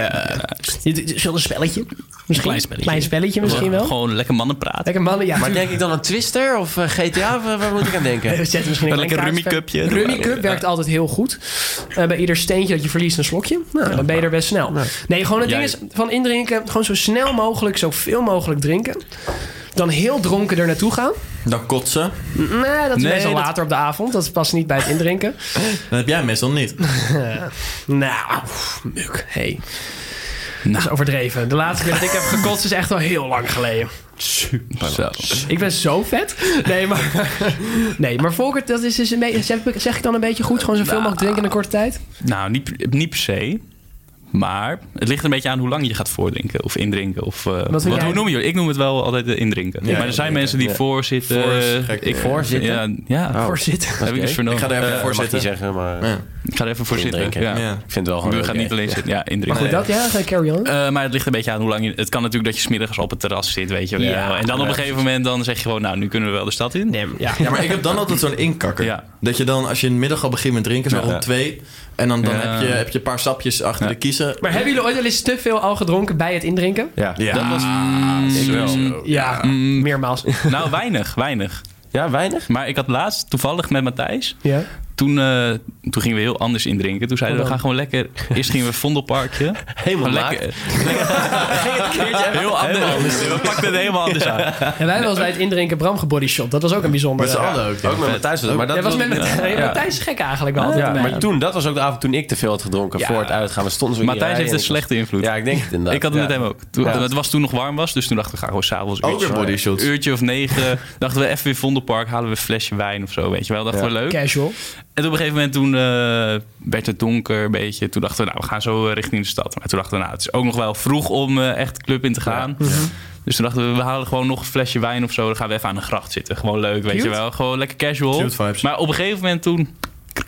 [SPEAKER 1] je- je- Zullen een spelletje? Misschien.
[SPEAKER 3] Klein spelletje.
[SPEAKER 1] Klein spelletje misschien wel.
[SPEAKER 3] Gewoon lekker mannen praten.
[SPEAKER 1] Lekker mannen, ja. <laughs>
[SPEAKER 2] Maar
[SPEAKER 1] tuurlijk.
[SPEAKER 2] denk ik dan aan Twister of eh, GTA? Of, eh, waar moet ik aan
[SPEAKER 1] We <laughs>
[SPEAKER 2] denken?
[SPEAKER 1] zetten misschien een
[SPEAKER 3] Lekker
[SPEAKER 1] klein
[SPEAKER 3] rummy
[SPEAKER 1] kaartspel.
[SPEAKER 3] cupje.
[SPEAKER 1] Rummy cup werkt altijd heel goed. Eh, bij ieder steentje dat je verliest een slokje. Nou, dan ben je er best snel. Nee, gewoon het ding
[SPEAKER 3] Ja,
[SPEAKER 1] is van indrinken. Gewoon zo snel mogelijk, zoveel mogelijk drinken. Dan heel dronken er naartoe gaan.
[SPEAKER 5] Dan kotsen.
[SPEAKER 1] Nee, dat is
[SPEAKER 3] Nee,
[SPEAKER 1] meestal
[SPEAKER 3] dat-
[SPEAKER 1] later op de avond. Dat past niet bij het indrinken.
[SPEAKER 5] Dat heb jij meestal niet.
[SPEAKER 1] Nou, oef, muk. Hey. Dat is overdreven. De laatste keer dat ik heb gekotst is echt al heel lang geleden.
[SPEAKER 3] Zo.
[SPEAKER 1] Ik ben zo vet. Nee, maar, nee, maar Volker, dat is dus een beetje, zeg, ik- zeg ik dan een beetje goed? Gewoon zoveel mogelijk drinken in een korte tijd?
[SPEAKER 3] Nou, niet, per- niet per se. Maar het ligt een beetje aan hoe lang je gaat voordrinken of indrinken. Of, eh, wat,
[SPEAKER 1] jij?
[SPEAKER 3] hoe noem je het? Ik noem het wel altijd eh, indrinken. maar er zijn
[SPEAKER 5] ja,
[SPEAKER 3] mensen die
[SPEAKER 5] ja.
[SPEAKER 3] voorzitten.
[SPEAKER 5] Voor
[SPEAKER 2] eh,
[SPEAKER 5] is Dus gek,
[SPEAKER 3] ik
[SPEAKER 5] ja.
[SPEAKER 3] voorzitten? Ja, ja
[SPEAKER 1] Voor zitten.
[SPEAKER 3] heb ik dus vernomen.
[SPEAKER 5] Ik ga er even
[SPEAKER 3] Eh,
[SPEAKER 5] voor
[SPEAKER 2] Mag ik niet
[SPEAKER 5] zitten.
[SPEAKER 2] zeggen, maar...
[SPEAKER 5] Ja.
[SPEAKER 3] ik ga er even voor zitten.
[SPEAKER 2] Indrinken.
[SPEAKER 3] Ja.
[SPEAKER 5] Ja.
[SPEAKER 3] Ik
[SPEAKER 2] Ik vind het wel gewoon
[SPEAKER 3] bedoel, je
[SPEAKER 2] leuk,
[SPEAKER 3] gaat niet
[SPEAKER 2] hè.
[SPEAKER 3] alleen zitten. Ja, indrinken.
[SPEAKER 1] Goed, dat ja, ga ik carry on.
[SPEAKER 3] Eh, maar het ligt een beetje aan hoe lang je... Het kan natuurlijk dat je smiddags op het terras zit, weet je wel.
[SPEAKER 2] Ja,
[SPEAKER 3] en dan op een gegeven moment dan zeg je gewoon... Nou, nu kunnen we wel de stad in.
[SPEAKER 1] ja.
[SPEAKER 5] Ja, maar ik heb dan altijd zo'n inkakker.
[SPEAKER 3] Ja.
[SPEAKER 5] Dat je dan, als je in de middag al begint met drinken, zo
[SPEAKER 3] Ja.
[SPEAKER 5] rond twee. En dan, dan
[SPEAKER 3] Ja.
[SPEAKER 5] heb, je, heb je een paar sapjes achter
[SPEAKER 3] Ja.
[SPEAKER 5] de kiezen.
[SPEAKER 1] Maar hebben jullie ooit wel eens te veel al gedronken bij het indrinken?
[SPEAKER 2] Ja.
[SPEAKER 5] Ja,
[SPEAKER 3] Dat was...
[SPEAKER 2] Mm.
[SPEAKER 5] sowieso.
[SPEAKER 1] Ja, meermaals.
[SPEAKER 3] Nou, weinig, weinig.
[SPEAKER 2] Ja, weinig?
[SPEAKER 3] Maar ik had laatst toevallig met Matthijs...
[SPEAKER 1] Ja.
[SPEAKER 3] Toen, eh, toen gingen we heel anders indrinken. Toen zeiden we,
[SPEAKER 2] Oh,
[SPEAKER 3] we gaan gewoon lekker... Eerst gingen we
[SPEAKER 2] <laughs>
[SPEAKER 3] Vondelparkje.
[SPEAKER 2] Helemaal
[SPEAKER 3] Gewoon
[SPEAKER 2] lekker.
[SPEAKER 3] lekker. lekker heel anders. We pakten het helemaal anders aan.
[SPEAKER 1] En wij was bij het indrinken Bram gebodyshot. Dat was ook een bijzonder.
[SPEAKER 5] Met z'n allen ook. ja.
[SPEAKER 2] Ook met Matthijs. was het, Maar dat
[SPEAKER 1] Dat was
[SPEAKER 2] was-
[SPEAKER 1] met Matthijs
[SPEAKER 3] Ja.
[SPEAKER 1] Matthijs is gek eigenlijk wel. altijd
[SPEAKER 2] Ja,
[SPEAKER 1] bij
[SPEAKER 2] maar
[SPEAKER 1] hem.
[SPEAKER 2] toen, dat was ook de avond toen ik te veel had gedronken
[SPEAKER 1] Ja.
[SPEAKER 2] voor het uitgaan. We stonden zo in die
[SPEAKER 3] Matthijs
[SPEAKER 2] rij
[SPEAKER 3] heeft
[SPEAKER 2] en
[SPEAKER 3] een
[SPEAKER 2] ik
[SPEAKER 3] slechte
[SPEAKER 2] was-
[SPEAKER 3] invloed.
[SPEAKER 2] Ja, ik denk het inderdaad.
[SPEAKER 3] Ik had het
[SPEAKER 2] Ja.
[SPEAKER 3] met hem ook. Toen,
[SPEAKER 2] Ja.
[SPEAKER 3] Het was toen nog warm was, dus toen dachten we gaan gewoon s'avonds...
[SPEAKER 5] Ook weer body shots.
[SPEAKER 3] uurtje of negen dachten we even weer Vondelpark, halen we een flesje wijn of zo, weet je wel. Dachten we leuk.
[SPEAKER 1] Casual.
[SPEAKER 3] En op een gegeven moment toen eh, werd het donker een beetje. Toen dachten we, nou, we gaan zo eh, richting de stad. Maar toen dachten we, nou, het is ook nog wel vroeg om eh, echt de club in te gaan. Dus toen dachten we, we halen gewoon nog een flesje wijn of zo. Dan gaan we even aan de gracht zitten. Gewoon leuk, weet
[SPEAKER 1] Cute.
[SPEAKER 3] je wel. Gewoon lekker casual.
[SPEAKER 5] Cute vibes.
[SPEAKER 3] Maar op een gegeven moment toen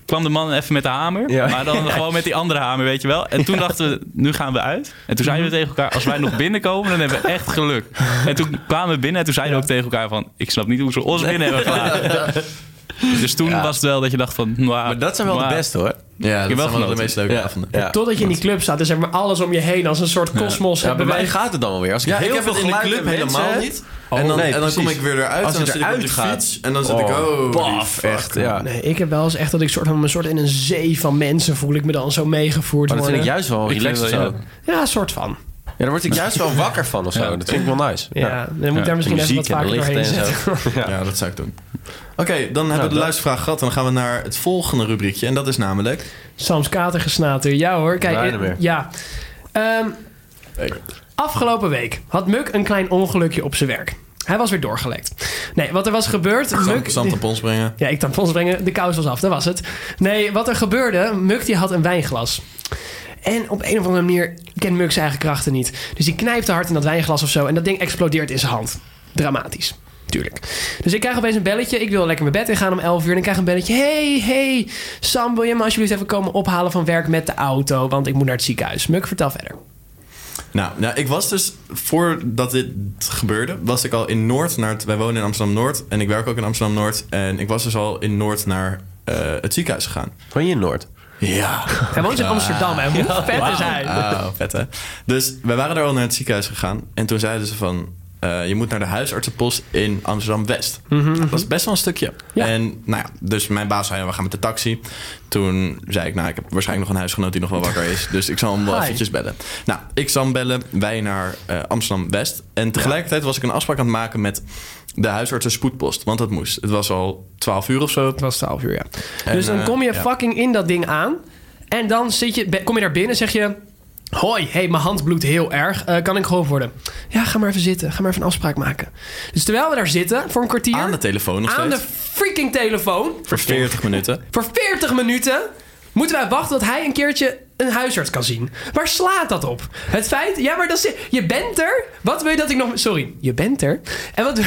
[SPEAKER 3] kwam de man even met de hamer.
[SPEAKER 2] Ja.
[SPEAKER 3] Maar dan gewoon met die andere hamer, weet je wel. En toen dachten we, nu gaan we uit. En toen zeiden we tegen elkaar, als wij nog binnenkomen, dan hebben we echt geluk. En toen kwamen we binnen en toen zeiden we ook tegen elkaar van... ik snap niet hoe ze ons binnen hebben gelaten. Dus toen was het wel dat je dacht van...
[SPEAKER 2] Maar dat zijn wel de beste hoor.
[SPEAKER 5] Ja, dat zijn
[SPEAKER 3] heb wel
[SPEAKER 5] wel de
[SPEAKER 3] genoten.
[SPEAKER 5] meest leuke
[SPEAKER 2] Ja.
[SPEAKER 5] avonden.
[SPEAKER 2] Ja.
[SPEAKER 1] Totdat je in die club staat, is zeg maar alles om je heen als een soort kosmos.
[SPEAKER 2] Ja, bij mij
[SPEAKER 1] beweegt.
[SPEAKER 2] gaat het dan wel weer. Als ik
[SPEAKER 5] Ja,
[SPEAKER 2] heel
[SPEAKER 5] ik heb
[SPEAKER 2] veel
[SPEAKER 5] het in de
[SPEAKER 2] geluid
[SPEAKER 5] club
[SPEAKER 2] en mensen
[SPEAKER 5] helemaal
[SPEAKER 2] heb,
[SPEAKER 5] niet. En dan,
[SPEAKER 2] nee,
[SPEAKER 5] en dan kom
[SPEAKER 2] precies.
[SPEAKER 5] ik weer eruit
[SPEAKER 2] Als
[SPEAKER 5] en dan
[SPEAKER 2] je
[SPEAKER 5] zit ik op
[SPEAKER 2] eruit
[SPEAKER 5] de
[SPEAKER 2] gaat,
[SPEAKER 5] fiets. En dan zit ik, oh,
[SPEAKER 2] oh,
[SPEAKER 5] die
[SPEAKER 2] paf,
[SPEAKER 5] fuck.
[SPEAKER 2] echt. Ja.
[SPEAKER 1] Nee, ik heb wel eens echt dat ik soort van een soort in een zee van mensen voel ik me dan zo meegevoerd
[SPEAKER 2] Maar Oh, dat
[SPEAKER 1] worden.
[SPEAKER 2] vind ik juist wel
[SPEAKER 3] Ik
[SPEAKER 2] relaxed
[SPEAKER 3] vind wel,
[SPEAKER 2] zo.
[SPEAKER 3] ja.
[SPEAKER 1] Ja, soort van.
[SPEAKER 2] Ja, daar word ik juist wel wakker van of zo. Dat vind ik wel nice.
[SPEAKER 1] Ja, dan moet ik daar misschien even wat
[SPEAKER 2] Muziek en
[SPEAKER 1] vaker
[SPEAKER 2] lichten
[SPEAKER 1] doorheen
[SPEAKER 2] en
[SPEAKER 1] zetten.
[SPEAKER 2] zo.
[SPEAKER 5] Ja. dat zou ik doen. Oké, dan hebben we
[SPEAKER 2] Nou, dat-
[SPEAKER 5] de luistervraag gehad. En dan gaan we naar het volgende rubriekje. En dat is namelijk...
[SPEAKER 1] Sams katergesnater. Ja hoor, kijk.
[SPEAKER 2] Bijna
[SPEAKER 1] eh,
[SPEAKER 2] weer.
[SPEAKER 1] Ja. Ehm, afgelopen week had Muk een klein ongelukje op zijn werk. Hij was weer doorgelekt. Nee, wat er was gebeurd... Muk,
[SPEAKER 5] Zand op ons brengen.
[SPEAKER 1] Ja, ik tampons brengen. De kous was af, dat was het. Nee, wat er gebeurde, Muk die had een wijnglas. En op een of andere manier kent Muk zijn eigen krachten niet. Dus die knijpte hard in dat wijnglas of zo. En dat ding explodeert in zijn hand. Dramatisch. Tuurlijk. Dus ik krijg opeens een belletje. Ik wil lekker mijn bed ingaan om 11 uur. En ik krijg een belletje. Hey, hey, Sam, wil je me alsjeblieft even komen ophalen van werk met de auto? Want ik moet naar het ziekenhuis. Muk, vertel verder.
[SPEAKER 5] Nou, nou, ik was dus voordat dit gebeurde, was ik al in Noord naar het, wij wonen in Amsterdam Noord en ik werk ook in Amsterdam Noord en ik was dus al in Noord naar eh, het ziekenhuis gegaan.
[SPEAKER 2] Van je Noord?
[SPEAKER 5] Ja.
[SPEAKER 1] Hij woont in Amsterdam, hè? Hoe vet is hij?
[SPEAKER 5] Ah, vet hè. Dus wij waren daar al naar het ziekenhuis gegaan en toen zeiden ze van. eh, je moet naar de huisartsenpost in Amsterdam-West. Dat is best wel een stukje.
[SPEAKER 1] Mhm, Ja.
[SPEAKER 5] En nou ja, dus mijn baas zei, we gaan met de taxi. Toen zei ik, nou, ik heb waarschijnlijk nog een huisgenoot die nog wel wakker is. Dus ik zal hem wel
[SPEAKER 1] Hi.
[SPEAKER 5] eventjes bellen. Nou, ik zal hem bellen. Wij naar eh, Amsterdam-West. En tegelijkertijd was ik een afspraak aan het maken met de huisartsen spoedpost. Want dat moest. Het was al 12 uur of zo.
[SPEAKER 1] Het was 12 uur, ja.
[SPEAKER 5] En,
[SPEAKER 1] dus dan
[SPEAKER 5] eh,
[SPEAKER 1] kom je
[SPEAKER 5] ja.
[SPEAKER 1] fucking in dat ding aan. En dan zit je, be- kom je daar binnen zeg je... Hoi, hey, mijn hand bloedt heel erg. Eh, kan ik geholpen worden? Ja, ga maar even zitten. Ga maar even een afspraak maken. Dus terwijl we daar zitten voor een kwartier...
[SPEAKER 5] Aan de telefoon nog
[SPEAKER 1] aan
[SPEAKER 5] steeds.
[SPEAKER 1] de freaking telefoon...
[SPEAKER 5] Voor 40 minuten.
[SPEAKER 1] Voor 40 minuten moeten wij wachten tot hij een keertje een huisarts kan zien. Waar slaat dat op? Het feit, ja, maar dat is, je bent er. Wat wil je dat ik nog. Sorry, je bent er. En wat,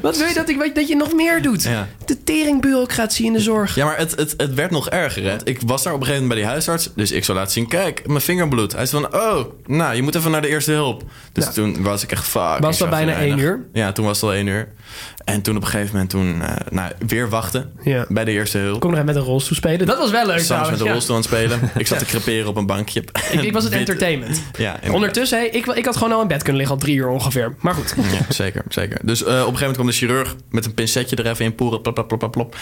[SPEAKER 1] wat wil <laughs> je dat, ik, dat je nog meer doet?
[SPEAKER 5] Ja.
[SPEAKER 1] De teringbureaucratie in de zorg.
[SPEAKER 5] Ja, maar het, het, het werd nog erger. Hè? Ik was daar op een gegeven moment bij die huisarts. Dus ik zou laten zien, kijk, mijn vinger bloedt. Hij zei van, oh, nou, je moet even naar de eerste hulp. Dus
[SPEAKER 1] Nou.
[SPEAKER 5] toen was ik echt, fuck. ik
[SPEAKER 1] dat
[SPEAKER 5] zou
[SPEAKER 1] bijna
[SPEAKER 5] venijnig.
[SPEAKER 1] één uur?
[SPEAKER 5] Ja, toen was het al één uur. En toen op een gegeven moment, toen, eh, nou, weer wachten
[SPEAKER 1] Ja.
[SPEAKER 5] bij de eerste hulp.
[SPEAKER 1] Kom nog even met een rolstoel spelen. Dat was wel leuk.
[SPEAKER 5] Soms
[SPEAKER 1] trouwens,
[SPEAKER 5] met de
[SPEAKER 1] ja.
[SPEAKER 5] rolstoel aan het spelen. Ik zat te creperen op een bankje.
[SPEAKER 1] Ik, ik was het
[SPEAKER 5] Wit-
[SPEAKER 1] entertainment.
[SPEAKER 5] Ja, en-
[SPEAKER 1] Ondertussen, hey, ik, ik had gewoon al in bed kunnen liggen, al drie uur ongeveer. Maar goed.
[SPEAKER 5] Ja, zeker, zeker. Dus eh, op een gegeven moment kwam de chirurg met een pincetje er even in poeren. Plop, plop, plop, plop, plop.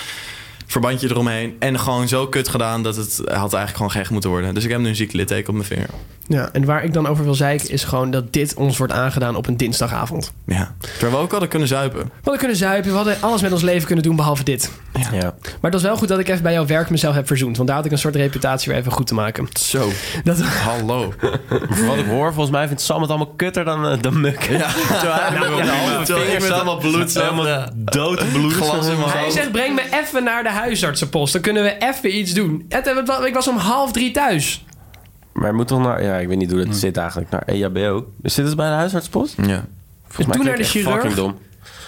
[SPEAKER 5] Verbandje eromheen. En gewoon zo kut gedaan dat het had eigenlijk gewoon gek moeten worden. Dus ik heb nu een ziek litteken op mijn vinger.
[SPEAKER 1] Ja, en waar ik dan over wil zeiken is gewoon dat dit ons wordt aangedaan op een dinsdagavond.
[SPEAKER 5] Ja. Terwijl we ook hadden kunnen zuipen.
[SPEAKER 1] We hadden kunnen zuipen, we hadden alles met ons leven kunnen doen behalve dit.
[SPEAKER 2] Ja.
[SPEAKER 1] Maar het was wel goed dat ik even bij jouw werk mezelf heb verzoend. Want daar had ik een soort reputatie weer even goed te maken.
[SPEAKER 5] Zo.
[SPEAKER 1] Dat,
[SPEAKER 5] <laughs> Hallo.
[SPEAKER 2] Voor wat ik hoor, volgens mij vindt Sam het allemaal kutter dan, eh, dan Muk. Ja. Zo, hij met
[SPEAKER 5] Nou,
[SPEAKER 2] allemaal
[SPEAKER 5] ja, terwijl ik
[SPEAKER 2] vingers
[SPEAKER 5] met
[SPEAKER 2] zat,
[SPEAKER 5] allemaal bloed zat,
[SPEAKER 2] Helemaal
[SPEAKER 5] ja.
[SPEAKER 2] dood bloed.
[SPEAKER 5] Glas in mijn
[SPEAKER 1] hij
[SPEAKER 5] hand.
[SPEAKER 1] zegt, breng me even naar de huisartsenpost. Dan kunnen we even iets doen. Het- het wa- ik was om half drie thuis.
[SPEAKER 2] Maar je moet toch naar... Ja, ik weet niet hoe dat
[SPEAKER 1] Hmm.
[SPEAKER 2] zit eigenlijk. Naar EHBO. Dus zit het bij de huisartspost?
[SPEAKER 5] Ja.
[SPEAKER 2] Volgens mij
[SPEAKER 1] Dus Toen naar
[SPEAKER 2] klinkt
[SPEAKER 1] de
[SPEAKER 2] echt
[SPEAKER 1] chirurg.
[SPEAKER 2] Fucking dom.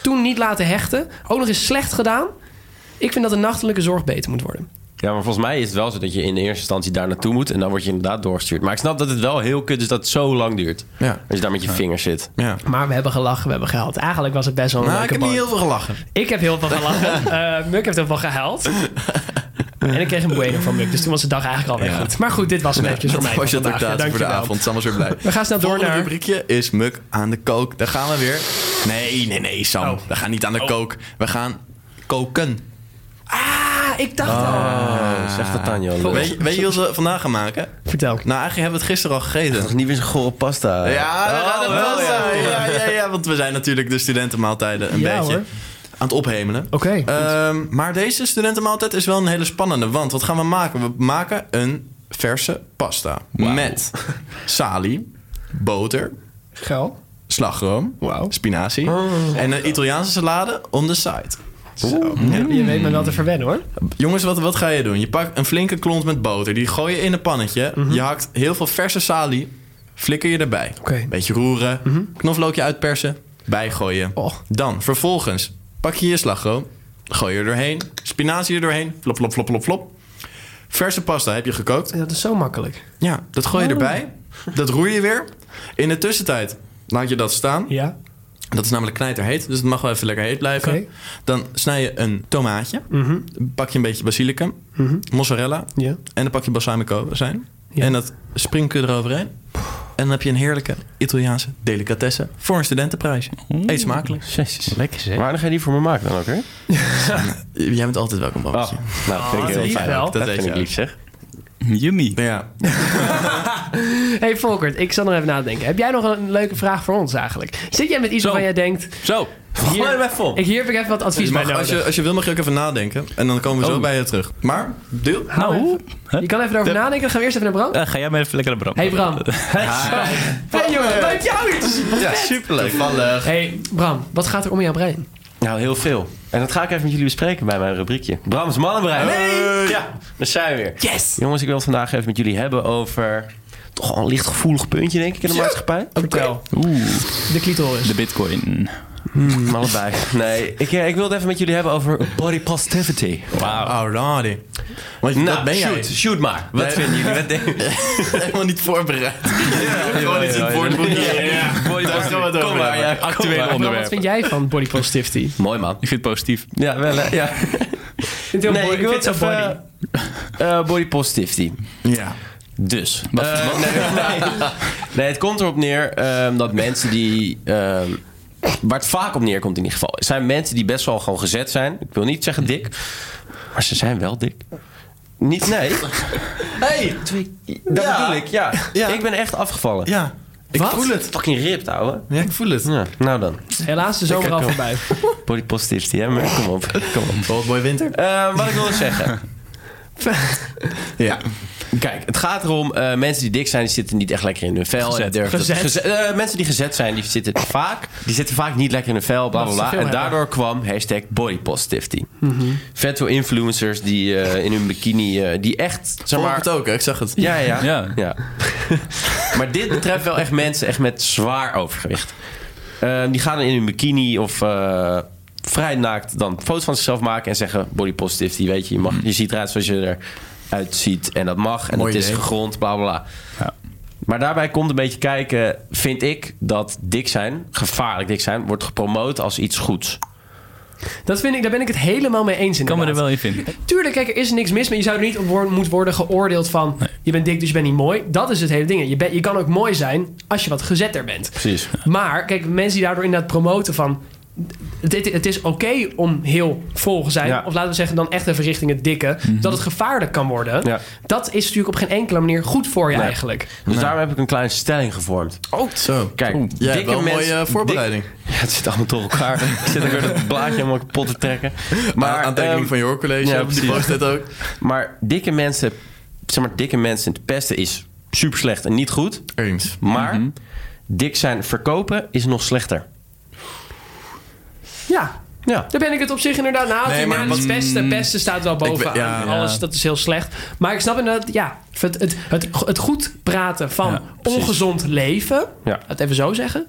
[SPEAKER 1] Toen niet laten hechten. Ook nog eens slecht gedaan. Ik vind dat de nachtelijke zorg beter moet worden.
[SPEAKER 2] Ja, maar volgens mij is het wel zo dat je in de eerste instantie daar naartoe moet. En dan word je inderdaad doorgestuurd. Maar ik snap dat het wel heel kut is dat het zo lang duurt.
[SPEAKER 5] Ja.
[SPEAKER 2] Als je daar met je vingers zit.
[SPEAKER 5] Ja.
[SPEAKER 1] Maar we hebben gelachen, we hebben gehuild. Eigenlijk was het best wel een
[SPEAKER 5] Nou, ik
[SPEAKER 1] leuke
[SPEAKER 5] heb niet
[SPEAKER 1] bar.
[SPEAKER 5] heel veel gelachen.
[SPEAKER 1] Ik heb heel veel
[SPEAKER 5] <laughs>
[SPEAKER 1] gelachen. Eh Muk heeft heel veel gehuild. En ik kreeg een bueno van Muk. Dus toen was de dag eigenlijk alweer
[SPEAKER 5] Ja.
[SPEAKER 1] goed. Maar goed, dit was hem eventjes voor mij.
[SPEAKER 5] was je
[SPEAKER 1] vandaag. Ja,
[SPEAKER 5] adaptatie voor de
[SPEAKER 1] dankjewel.
[SPEAKER 5] avond. Sam was weer blij.
[SPEAKER 1] We gaan snel door
[SPEAKER 5] Volgende
[SPEAKER 1] naar-
[SPEAKER 5] rubriekje is Muk aan de kook. Daar gaan we weer. Nee, nee, nee, Sam.
[SPEAKER 1] Oh.
[SPEAKER 5] We gaan niet aan de kook. We gaan koken.
[SPEAKER 1] Ah, ik dacht
[SPEAKER 5] Oh.
[SPEAKER 1] al.
[SPEAKER 2] Zegt dat Tanja al.
[SPEAKER 5] Weet, je- weet je wat we vandaag gaan maken?
[SPEAKER 1] Vertel.
[SPEAKER 5] Nou, eigenlijk hebben we het gisteren al gegeten.
[SPEAKER 2] niet weer zo'n gore pasta.
[SPEAKER 5] Ja, we gaan het wel
[SPEAKER 2] ja.
[SPEAKER 5] zijn. ja, ja, ja, want we zijn natuurlijk de studentenmaaltijden een
[SPEAKER 1] Ja,
[SPEAKER 5] beetje
[SPEAKER 1] hoor.
[SPEAKER 5] aan het ophemelen.
[SPEAKER 1] Oké.
[SPEAKER 5] Ehm, maar deze studentenmaaltijd is wel een hele spannende. Want wat gaan we maken? We maken een verse pasta. Met salie, boter,
[SPEAKER 1] Geil.
[SPEAKER 5] slagroom,
[SPEAKER 1] Wauw. Oh.
[SPEAKER 5] spinazie en een Italiaanse salade on the side.
[SPEAKER 1] Je weet me wel te verwennen hoor.
[SPEAKER 5] Jongens, wat, wat ga je doen? Je pakt een flinke klont met boter. Die gooi je in een pannetje.
[SPEAKER 1] Mhm.
[SPEAKER 5] Je hakt heel veel verse salie. Flikker je erbij.
[SPEAKER 1] Oké. Mhm.
[SPEAKER 5] Beetje roeren. Knoflookje uitpersen. Bijgooien.
[SPEAKER 1] Och.
[SPEAKER 5] Dan, vervolgens, pak je je slagroom. Gooi je er doorheen. Spinazie er doorheen. Flop, flop, flop, flop, flop. Verse pasta heb je gekookt.
[SPEAKER 1] Dat is zo makkelijk.
[SPEAKER 5] Ja, dat gooi je
[SPEAKER 1] Oh.
[SPEAKER 5] erbij. Dat roer je weer. In de tussentijd laat je dat staan.
[SPEAKER 1] Ja.
[SPEAKER 5] Dat is namelijk knijterheet, dus het mag wel even lekker heet blijven.
[SPEAKER 1] Oké. Mhm.
[SPEAKER 5] Dan snij je een tomaatje, pak je een beetje basilicum, mozzarella
[SPEAKER 1] Ja.
[SPEAKER 5] en dan pak je balsamico zijn.
[SPEAKER 1] Ja.
[SPEAKER 5] En dat sprinkel je eroverheen. En dan heb je een heerlijke Italiaanse delicatesse voor een studentenprijs. Eet smakelijk.
[SPEAKER 2] Lekker zeg. Waarom ga je die voor me maken dan ook, hè?
[SPEAKER 5] Jij bent altijd welkom,
[SPEAKER 2] Oh,
[SPEAKER 3] Ah.
[SPEAKER 5] Babbeltje.
[SPEAKER 2] nou, dat vind ik heel
[SPEAKER 1] Ah, lief
[SPEAKER 2] fijn.
[SPEAKER 1] wel.
[SPEAKER 2] Dat,
[SPEAKER 5] Dat weet
[SPEAKER 2] vind ik
[SPEAKER 5] je
[SPEAKER 2] lief, zeg.
[SPEAKER 3] Yummy.
[SPEAKER 5] Ja.
[SPEAKER 1] Hey Volkert, ik zal nog even nadenken. Heb jij nog een leuke vraag voor ons eigenlijk? Zit jij met iets
[SPEAKER 3] Zo.
[SPEAKER 1] waarvan jij denkt...
[SPEAKER 3] Zo. nou
[SPEAKER 2] Gooi hem even op.
[SPEAKER 1] Ik, hier heb ik even wat advies
[SPEAKER 5] Dus Je mag-
[SPEAKER 1] bij nodig.
[SPEAKER 5] als, je, als je wil mag je ook even nadenken. En dan komen we zo
[SPEAKER 3] Oh.
[SPEAKER 5] bij je terug. Maar, deel.
[SPEAKER 1] Hou
[SPEAKER 3] Nou,
[SPEAKER 1] even. Je kan even erover nadenken. Dan gaan we eerst even naar Bram.
[SPEAKER 3] Eh, ga jij maar even lekker naar Bram.
[SPEAKER 1] Hey
[SPEAKER 3] <laughs>
[SPEAKER 1] Bram. Hey jongen, leuk jou iets.
[SPEAKER 5] Ja, superleuk. Toevallig.
[SPEAKER 1] Hey Bram, wat gaat er om in jouw brein?
[SPEAKER 2] Nou, heel veel. En dat ga ik even met jullie bespreken bij mijn rubriekje. Brams Mannenbrein.
[SPEAKER 5] Hey.
[SPEAKER 2] Ja, daar zijn we weer.
[SPEAKER 1] Yes!
[SPEAKER 2] Jongens, ik wil het vandaag even met jullie hebben over... Toch al een licht gevoelig puntje, denk ik, in de maatschappij.
[SPEAKER 1] Vertel. De clitoris.
[SPEAKER 3] De bitcoin.
[SPEAKER 2] Hmm, allebei. Nee, ik, eh, ik wilde even met jullie hebben over body positivity.
[SPEAKER 3] Wauw.
[SPEAKER 5] Alrighty. Want
[SPEAKER 2] Nou,
[SPEAKER 5] dat ben jij.
[SPEAKER 2] shoot, shoot maar. Wat
[SPEAKER 5] Nee.
[SPEAKER 2] vinden jullie? Wat denken
[SPEAKER 5] Helemaal niet voorbereid. Gewoon iets in het
[SPEAKER 2] ja,
[SPEAKER 5] woordboek.
[SPEAKER 3] Body
[SPEAKER 5] Daar
[SPEAKER 3] positivity.
[SPEAKER 5] gaan we het
[SPEAKER 2] Kom
[SPEAKER 5] over
[SPEAKER 2] maar,
[SPEAKER 5] hebben.
[SPEAKER 2] ja, actueel
[SPEAKER 3] Actuele
[SPEAKER 1] Wat
[SPEAKER 3] onderwerp.
[SPEAKER 1] vind jij van body positivity?
[SPEAKER 2] Mooi man.
[SPEAKER 3] Ik vind het positief.
[SPEAKER 2] Ja, wel hè? Ja.
[SPEAKER 1] Ik vind het heel
[SPEAKER 2] Nee,
[SPEAKER 1] mooi.
[SPEAKER 2] ik wil
[SPEAKER 1] vind het
[SPEAKER 2] even,
[SPEAKER 1] zo body.
[SPEAKER 2] eh, eh, body positivity.
[SPEAKER 5] Ja.
[SPEAKER 2] Dus. Eh, nee, <laughs> nee. Nee, het komt erop neer ehm, dat mensen die. ehm, waar het vaak op neerkomt in ieder geval. zijn mensen die best wel gewoon gezet zijn. Ik wil niet zeggen dik, maar ze zijn wel dik. Niet, nee.
[SPEAKER 5] <laughs> Hey!
[SPEAKER 2] Dat
[SPEAKER 5] Ja.
[SPEAKER 2] bedoel ik, ja.
[SPEAKER 5] Ja.
[SPEAKER 2] Ik ben echt afgevallen.
[SPEAKER 5] Ja. Ik
[SPEAKER 2] Wat?
[SPEAKER 5] voel het.
[SPEAKER 2] Fucking ripped, ouwe.
[SPEAKER 5] Ja, ik voel het.
[SPEAKER 2] Ja, nou dan.
[SPEAKER 1] Helaas de zomer al voorbij.
[SPEAKER 2] Body positivity, hè? Maar kom op.
[SPEAKER 5] <laughs>
[SPEAKER 2] Kom op.
[SPEAKER 5] Boy Winter.
[SPEAKER 2] Eh, wat ik wilde zeggen.
[SPEAKER 5] Ja.
[SPEAKER 2] Kijk, het gaat erom, eh, mensen die dik zijn, die zitten niet echt lekker in hun vel.
[SPEAKER 3] Gezet.
[SPEAKER 2] En durven dat-
[SPEAKER 1] Gezet.
[SPEAKER 2] geze- eh, mensen die gezet zijn, die zitten vaak, die zitten vaak niet lekker in hun vel, bla bla
[SPEAKER 1] ze
[SPEAKER 2] bla.
[SPEAKER 1] veel
[SPEAKER 2] En
[SPEAKER 1] hebben.
[SPEAKER 2] daardoor kwam hashtag body positivity. Vet veel influencers die eh, in hun bikini, eh, die echt, zeg
[SPEAKER 5] Volg
[SPEAKER 2] maar...
[SPEAKER 5] het ook, hè? ik zag het.
[SPEAKER 2] Ja, ja, ja. <laughs>
[SPEAKER 3] Ja.
[SPEAKER 2] maar dit betreft wel echt mensen echt met zwaar overgewicht. Ehm, die gaan in hun bikini of eh, vrij naakt dan foto's van zichzelf maken en zeggen body positivity, weet je. Je, mag, je ziet eruit zoals je eruit ziet en dat mag en
[SPEAKER 5] Mooi
[SPEAKER 2] het is
[SPEAKER 5] idee.
[SPEAKER 2] gegrond, bla bla bla.
[SPEAKER 3] Ja.
[SPEAKER 2] Maar daarbij komt een beetje kijken, vind ik, dat dik zijn, gevaarlijk dik zijn, wordt gepromoot als iets goeds.
[SPEAKER 1] Dat vind ik, daar ben ik het helemaal mee eens in.
[SPEAKER 3] Kan me er wel in vinden.
[SPEAKER 1] Tuurlijk, kijk, er is niks mis, maar je zou er niet op woor- moet worden geoordeeld van... je bent dik, dus je bent niet mooi. Dat is het hele ding. Je, bent- je kan ook mooi zijn als je wat gezetter bent.
[SPEAKER 2] Precies.
[SPEAKER 1] Maar, kijk, mensen die daardoor inderdaad promoten van... Het, het is oké om heel vol te zijn.
[SPEAKER 2] Ja. Mhm.
[SPEAKER 1] Of laten we zeggen, dan echt even richting het dikke. Dat het gevaarlijk kan worden.
[SPEAKER 2] Ja.
[SPEAKER 1] Dat is natuurlijk op geen enkele manier goed voor je
[SPEAKER 2] Nee.
[SPEAKER 1] eigenlijk.
[SPEAKER 2] Dus daarom heb ik een kleine stelling gevormd.
[SPEAKER 5] Oh, zo.
[SPEAKER 2] Kijk,
[SPEAKER 5] Jij hebt
[SPEAKER 2] dikke
[SPEAKER 5] wel een
[SPEAKER 2] mensen-
[SPEAKER 5] mooie eh, voorbereiding.
[SPEAKER 2] Ja, het zit allemaal door <laughs> elkaar. ik zit ook weer dat blaadje helemaal kapot te trekken.
[SPEAKER 5] Maar
[SPEAKER 2] Maar,
[SPEAKER 5] aantekening
[SPEAKER 2] ehm,
[SPEAKER 5] van je hoorcollege.
[SPEAKER 2] ja,
[SPEAKER 5] die
[SPEAKER 2] precies.
[SPEAKER 5] post het ook.
[SPEAKER 2] maar dikke mensen, zeg maar, dikke mensen te pesten is super slecht en niet goed.
[SPEAKER 5] Eens.
[SPEAKER 2] Maar dik zijn verkopen is nog slechter.
[SPEAKER 1] Ja,
[SPEAKER 2] Ja.
[SPEAKER 1] Daar ben ik het op zich inderdaad na.
[SPEAKER 5] Nee,
[SPEAKER 1] Nee,
[SPEAKER 5] maar
[SPEAKER 1] maar
[SPEAKER 5] wat-
[SPEAKER 1] het pesten, pesten staat wel bovenaan.
[SPEAKER 5] ben- ja,
[SPEAKER 1] alles, dat is heel slecht. Maar ik snap inderdaad, ja, het, het, het, het goed praten van
[SPEAKER 3] Ja, precies.
[SPEAKER 1] ongezond leven,
[SPEAKER 2] Ja.
[SPEAKER 1] het even zo zeggen,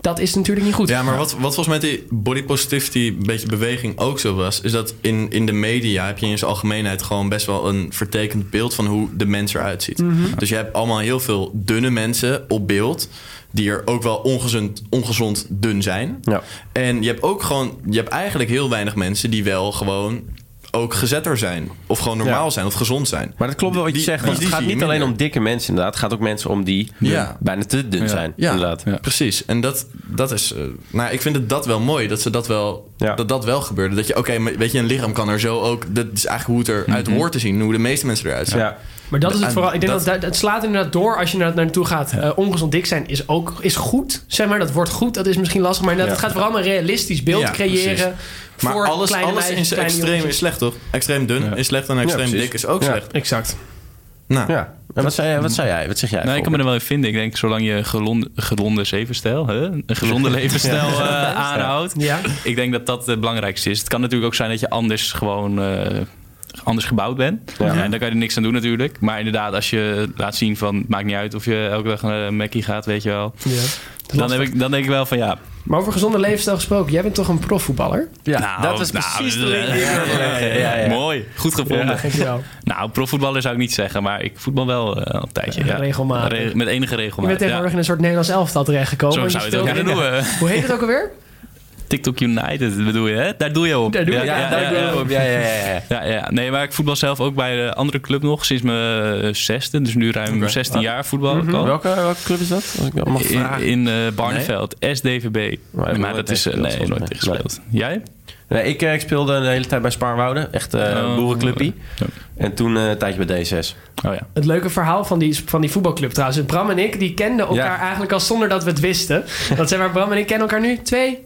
[SPEAKER 1] dat is natuurlijk niet goed.
[SPEAKER 5] Ja, maar wat, wat volgens mij die body positivity een beetje beweging ook zo was... is dat in, in de media heb je in zijn algemeenheid gewoon best wel een vertekend beeld... van hoe de mens eruit ziet. Dus je hebt allemaal heel veel dunne mensen op beeld... die er ook wel ongezond, ongezond dun zijn.
[SPEAKER 2] Ja.
[SPEAKER 5] En je hebt ook gewoon... je hebt eigenlijk heel weinig mensen die wel gewoon ook gezetter zijn. Of gewoon normaal
[SPEAKER 2] Ja.
[SPEAKER 5] zijn of gezond zijn.
[SPEAKER 2] Maar dat klopt wel wat je
[SPEAKER 5] Die-
[SPEAKER 2] zegt.
[SPEAKER 5] die-
[SPEAKER 2] Want het
[SPEAKER 5] die
[SPEAKER 2] gaat
[SPEAKER 5] zie je
[SPEAKER 2] niet alleen
[SPEAKER 5] minder.
[SPEAKER 2] om dikke mensen inderdaad. Het gaat ook mensen om die
[SPEAKER 5] Ja.
[SPEAKER 2] bijna te dun
[SPEAKER 3] Ja.
[SPEAKER 2] zijn.
[SPEAKER 5] Ja.
[SPEAKER 2] Inderdaad.
[SPEAKER 3] Ja.
[SPEAKER 5] Precies. En dat, dat is. eh, nou, ik vind het dat wel mooi dat ze dat wel.
[SPEAKER 2] Ja.
[SPEAKER 5] Dat dat wel gebeurde. Dat je, oké, maar weet je, een lichaam kan er zo ook. Dat is eigenlijk hoe het eruit hoort te zien. Hoe de meeste mensen eruit zien.
[SPEAKER 2] Mhm. Ja.
[SPEAKER 1] Maar dat is het
[SPEAKER 5] En
[SPEAKER 1] vooral. Ik denk dat,
[SPEAKER 5] dat-
[SPEAKER 1] dat het slaat inderdaad door als je naar naartoe gaat. Eh, ongezond dik zijn is ook is goed, zeg maar. Dat wordt goed. Dat is misschien lastig, maar inderdaad,
[SPEAKER 2] Ja.
[SPEAKER 1] het gaat vooral om een realistisch beeld
[SPEAKER 5] Ja,
[SPEAKER 1] creëren.
[SPEAKER 5] Maar
[SPEAKER 1] voor
[SPEAKER 5] alles,
[SPEAKER 1] kleine
[SPEAKER 5] alles
[SPEAKER 1] meisjes,
[SPEAKER 5] in zijn
[SPEAKER 1] kleine
[SPEAKER 5] extreem
[SPEAKER 1] jongens.
[SPEAKER 5] is slecht, toch? Extreem dun
[SPEAKER 3] Ja.
[SPEAKER 5] is slecht en extreem
[SPEAKER 2] precies.
[SPEAKER 5] dik is ook
[SPEAKER 2] Ja.
[SPEAKER 5] slecht.
[SPEAKER 1] Exact.
[SPEAKER 5] Nou,
[SPEAKER 2] ja. En wat zei, jij- wat zei jij? Wat zeg jij?
[SPEAKER 3] Nou, ik kan me er wel in vinden. Ik denk, zolang je gelonde, gezonde zevenstijl, hè? een
[SPEAKER 2] <laughs>
[SPEAKER 3] gezonde levensstijl eh, aanhoudt.
[SPEAKER 1] Ja.
[SPEAKER 3] Ik denk dat dat het belangrijkste is. Het kan natuurlijk ook zijn dat je anders gewoon eh, anders gebouwd bent.
[SPEAKER 2] Ja.
[SPEAKER 3] En daar kan je niks aan doen natuurlijk. Maar inderdaad, als je laat zien van, maakt niet uit of je elke dag naar een Mackie gaat, weet je wel.
[SPEAKER 1] Ja.
[SPEAKER 3] Dan, heb ik, dan denk ik wel van, ja,
[SPEAKER 1] Maar over gezonde levensstijl gesproken, jij bent toch een profvoetballer?
[SPEAKER 2] Ja,
[SPEAKER 3] nou,
[SPEAKER 2] dat was
[SPEAKER 3] nou,
[SPEAKER 2] precies
[SPEAKER 3] eh,
[SPEAKER 2] de link
[SPEAKER 3] <laughs>
[SPEAKER 2] die ik wilde leggen. Ja, ja.
[SPEAKER 3] mooi. Goed gevonden.
[SPEAKER 1] Dankjewel.
[SPEAKER 3] Nou, profvoetballer zou ik niet zeggen, maar ik voetbal wel eh, al een tijdje.
[SPEAKER 1] Ja,
[SPEAKER 3] ja.
[SPEAKER 1] regelmatig.
[SPEAKER 3] Re- met enige
[SPEAKER 1] Je
[SPEAKER 3] regelmaat.
[SPEAKER 1] bent tegenwoordig in een soort Nederlands elftal terechtgekomen.
[SPEAKER 3] Zo
[SPEAKER 1] en
[SPEAKER 3] zou je
[SPEAKER 1] je
[SPEAKER 3] het ook
[SPEAKER 1] speelt
[SPEAKER 3] kunnen
[SPEAKER 1] in de-
[SPEAKER 3] doen. hè.
[SPEAKER 1] Hoe heet het ook alweer?
[SPEAKER 3] TikTok United bedoel je, hè? Daar doe je op.
[SPEAKER 1] Daar doe je op,
[SPEAKER 2] Ja, daar doe ik op. Ja, ja, ja. ja.
[SPEAKER 3] Ja, ja, nee, maar ik voetbal zelf ook bij de andere club nog sinds mijn eh, zesde. Dus nu ruim 16 jaar voetbal.
[SPEAKER 1] Mhm.
[SPEAKER 2] Welke, welke club is dat? Als ik dat mag
[SPEAKER 3] In,
[SPEAKER 2] vragen.
[SPEAKER 3] in eh, Barneveld, SDVB.
[SPEAKER 2] Maar
[SPEAKER 3] Maar,
[SPEAKER 2] ik nooit
[SPEAKER 3] dat is... eh,
[SPEAKER 2] tegen
[SPEAKER 3] nee,
[SPEAKER 2] gespeeld,
[SPEAKER 3] nooit
[SPEAKER 2] volgens mij.
[SPEAKER 3] gespeeld. Jij?
[SPEAKER 2] Nee, ik, eh, ik speelde de hele tijd bij Spaarwouden. Echt eh
[SPEAKER 3] Oh.
[SPEAKER 2] boerenclubje.
[SPEAKER 3] Ja.
[SPEAKER 2] En toen eh, een tijdje bij D6.
[SPEAKER 3] Oh ja.
[SPEAKER 1] Het leuke verhaal van die, van die voetbalclub trouwens. Dus Bram en ik die kenden elkaar
[SPEAKER 2] Ja.
[SPEAKER 1] eigenlijk al zonder dat we het wisten. Want zeg maar, Bram en ik kennen elkaar nu twee,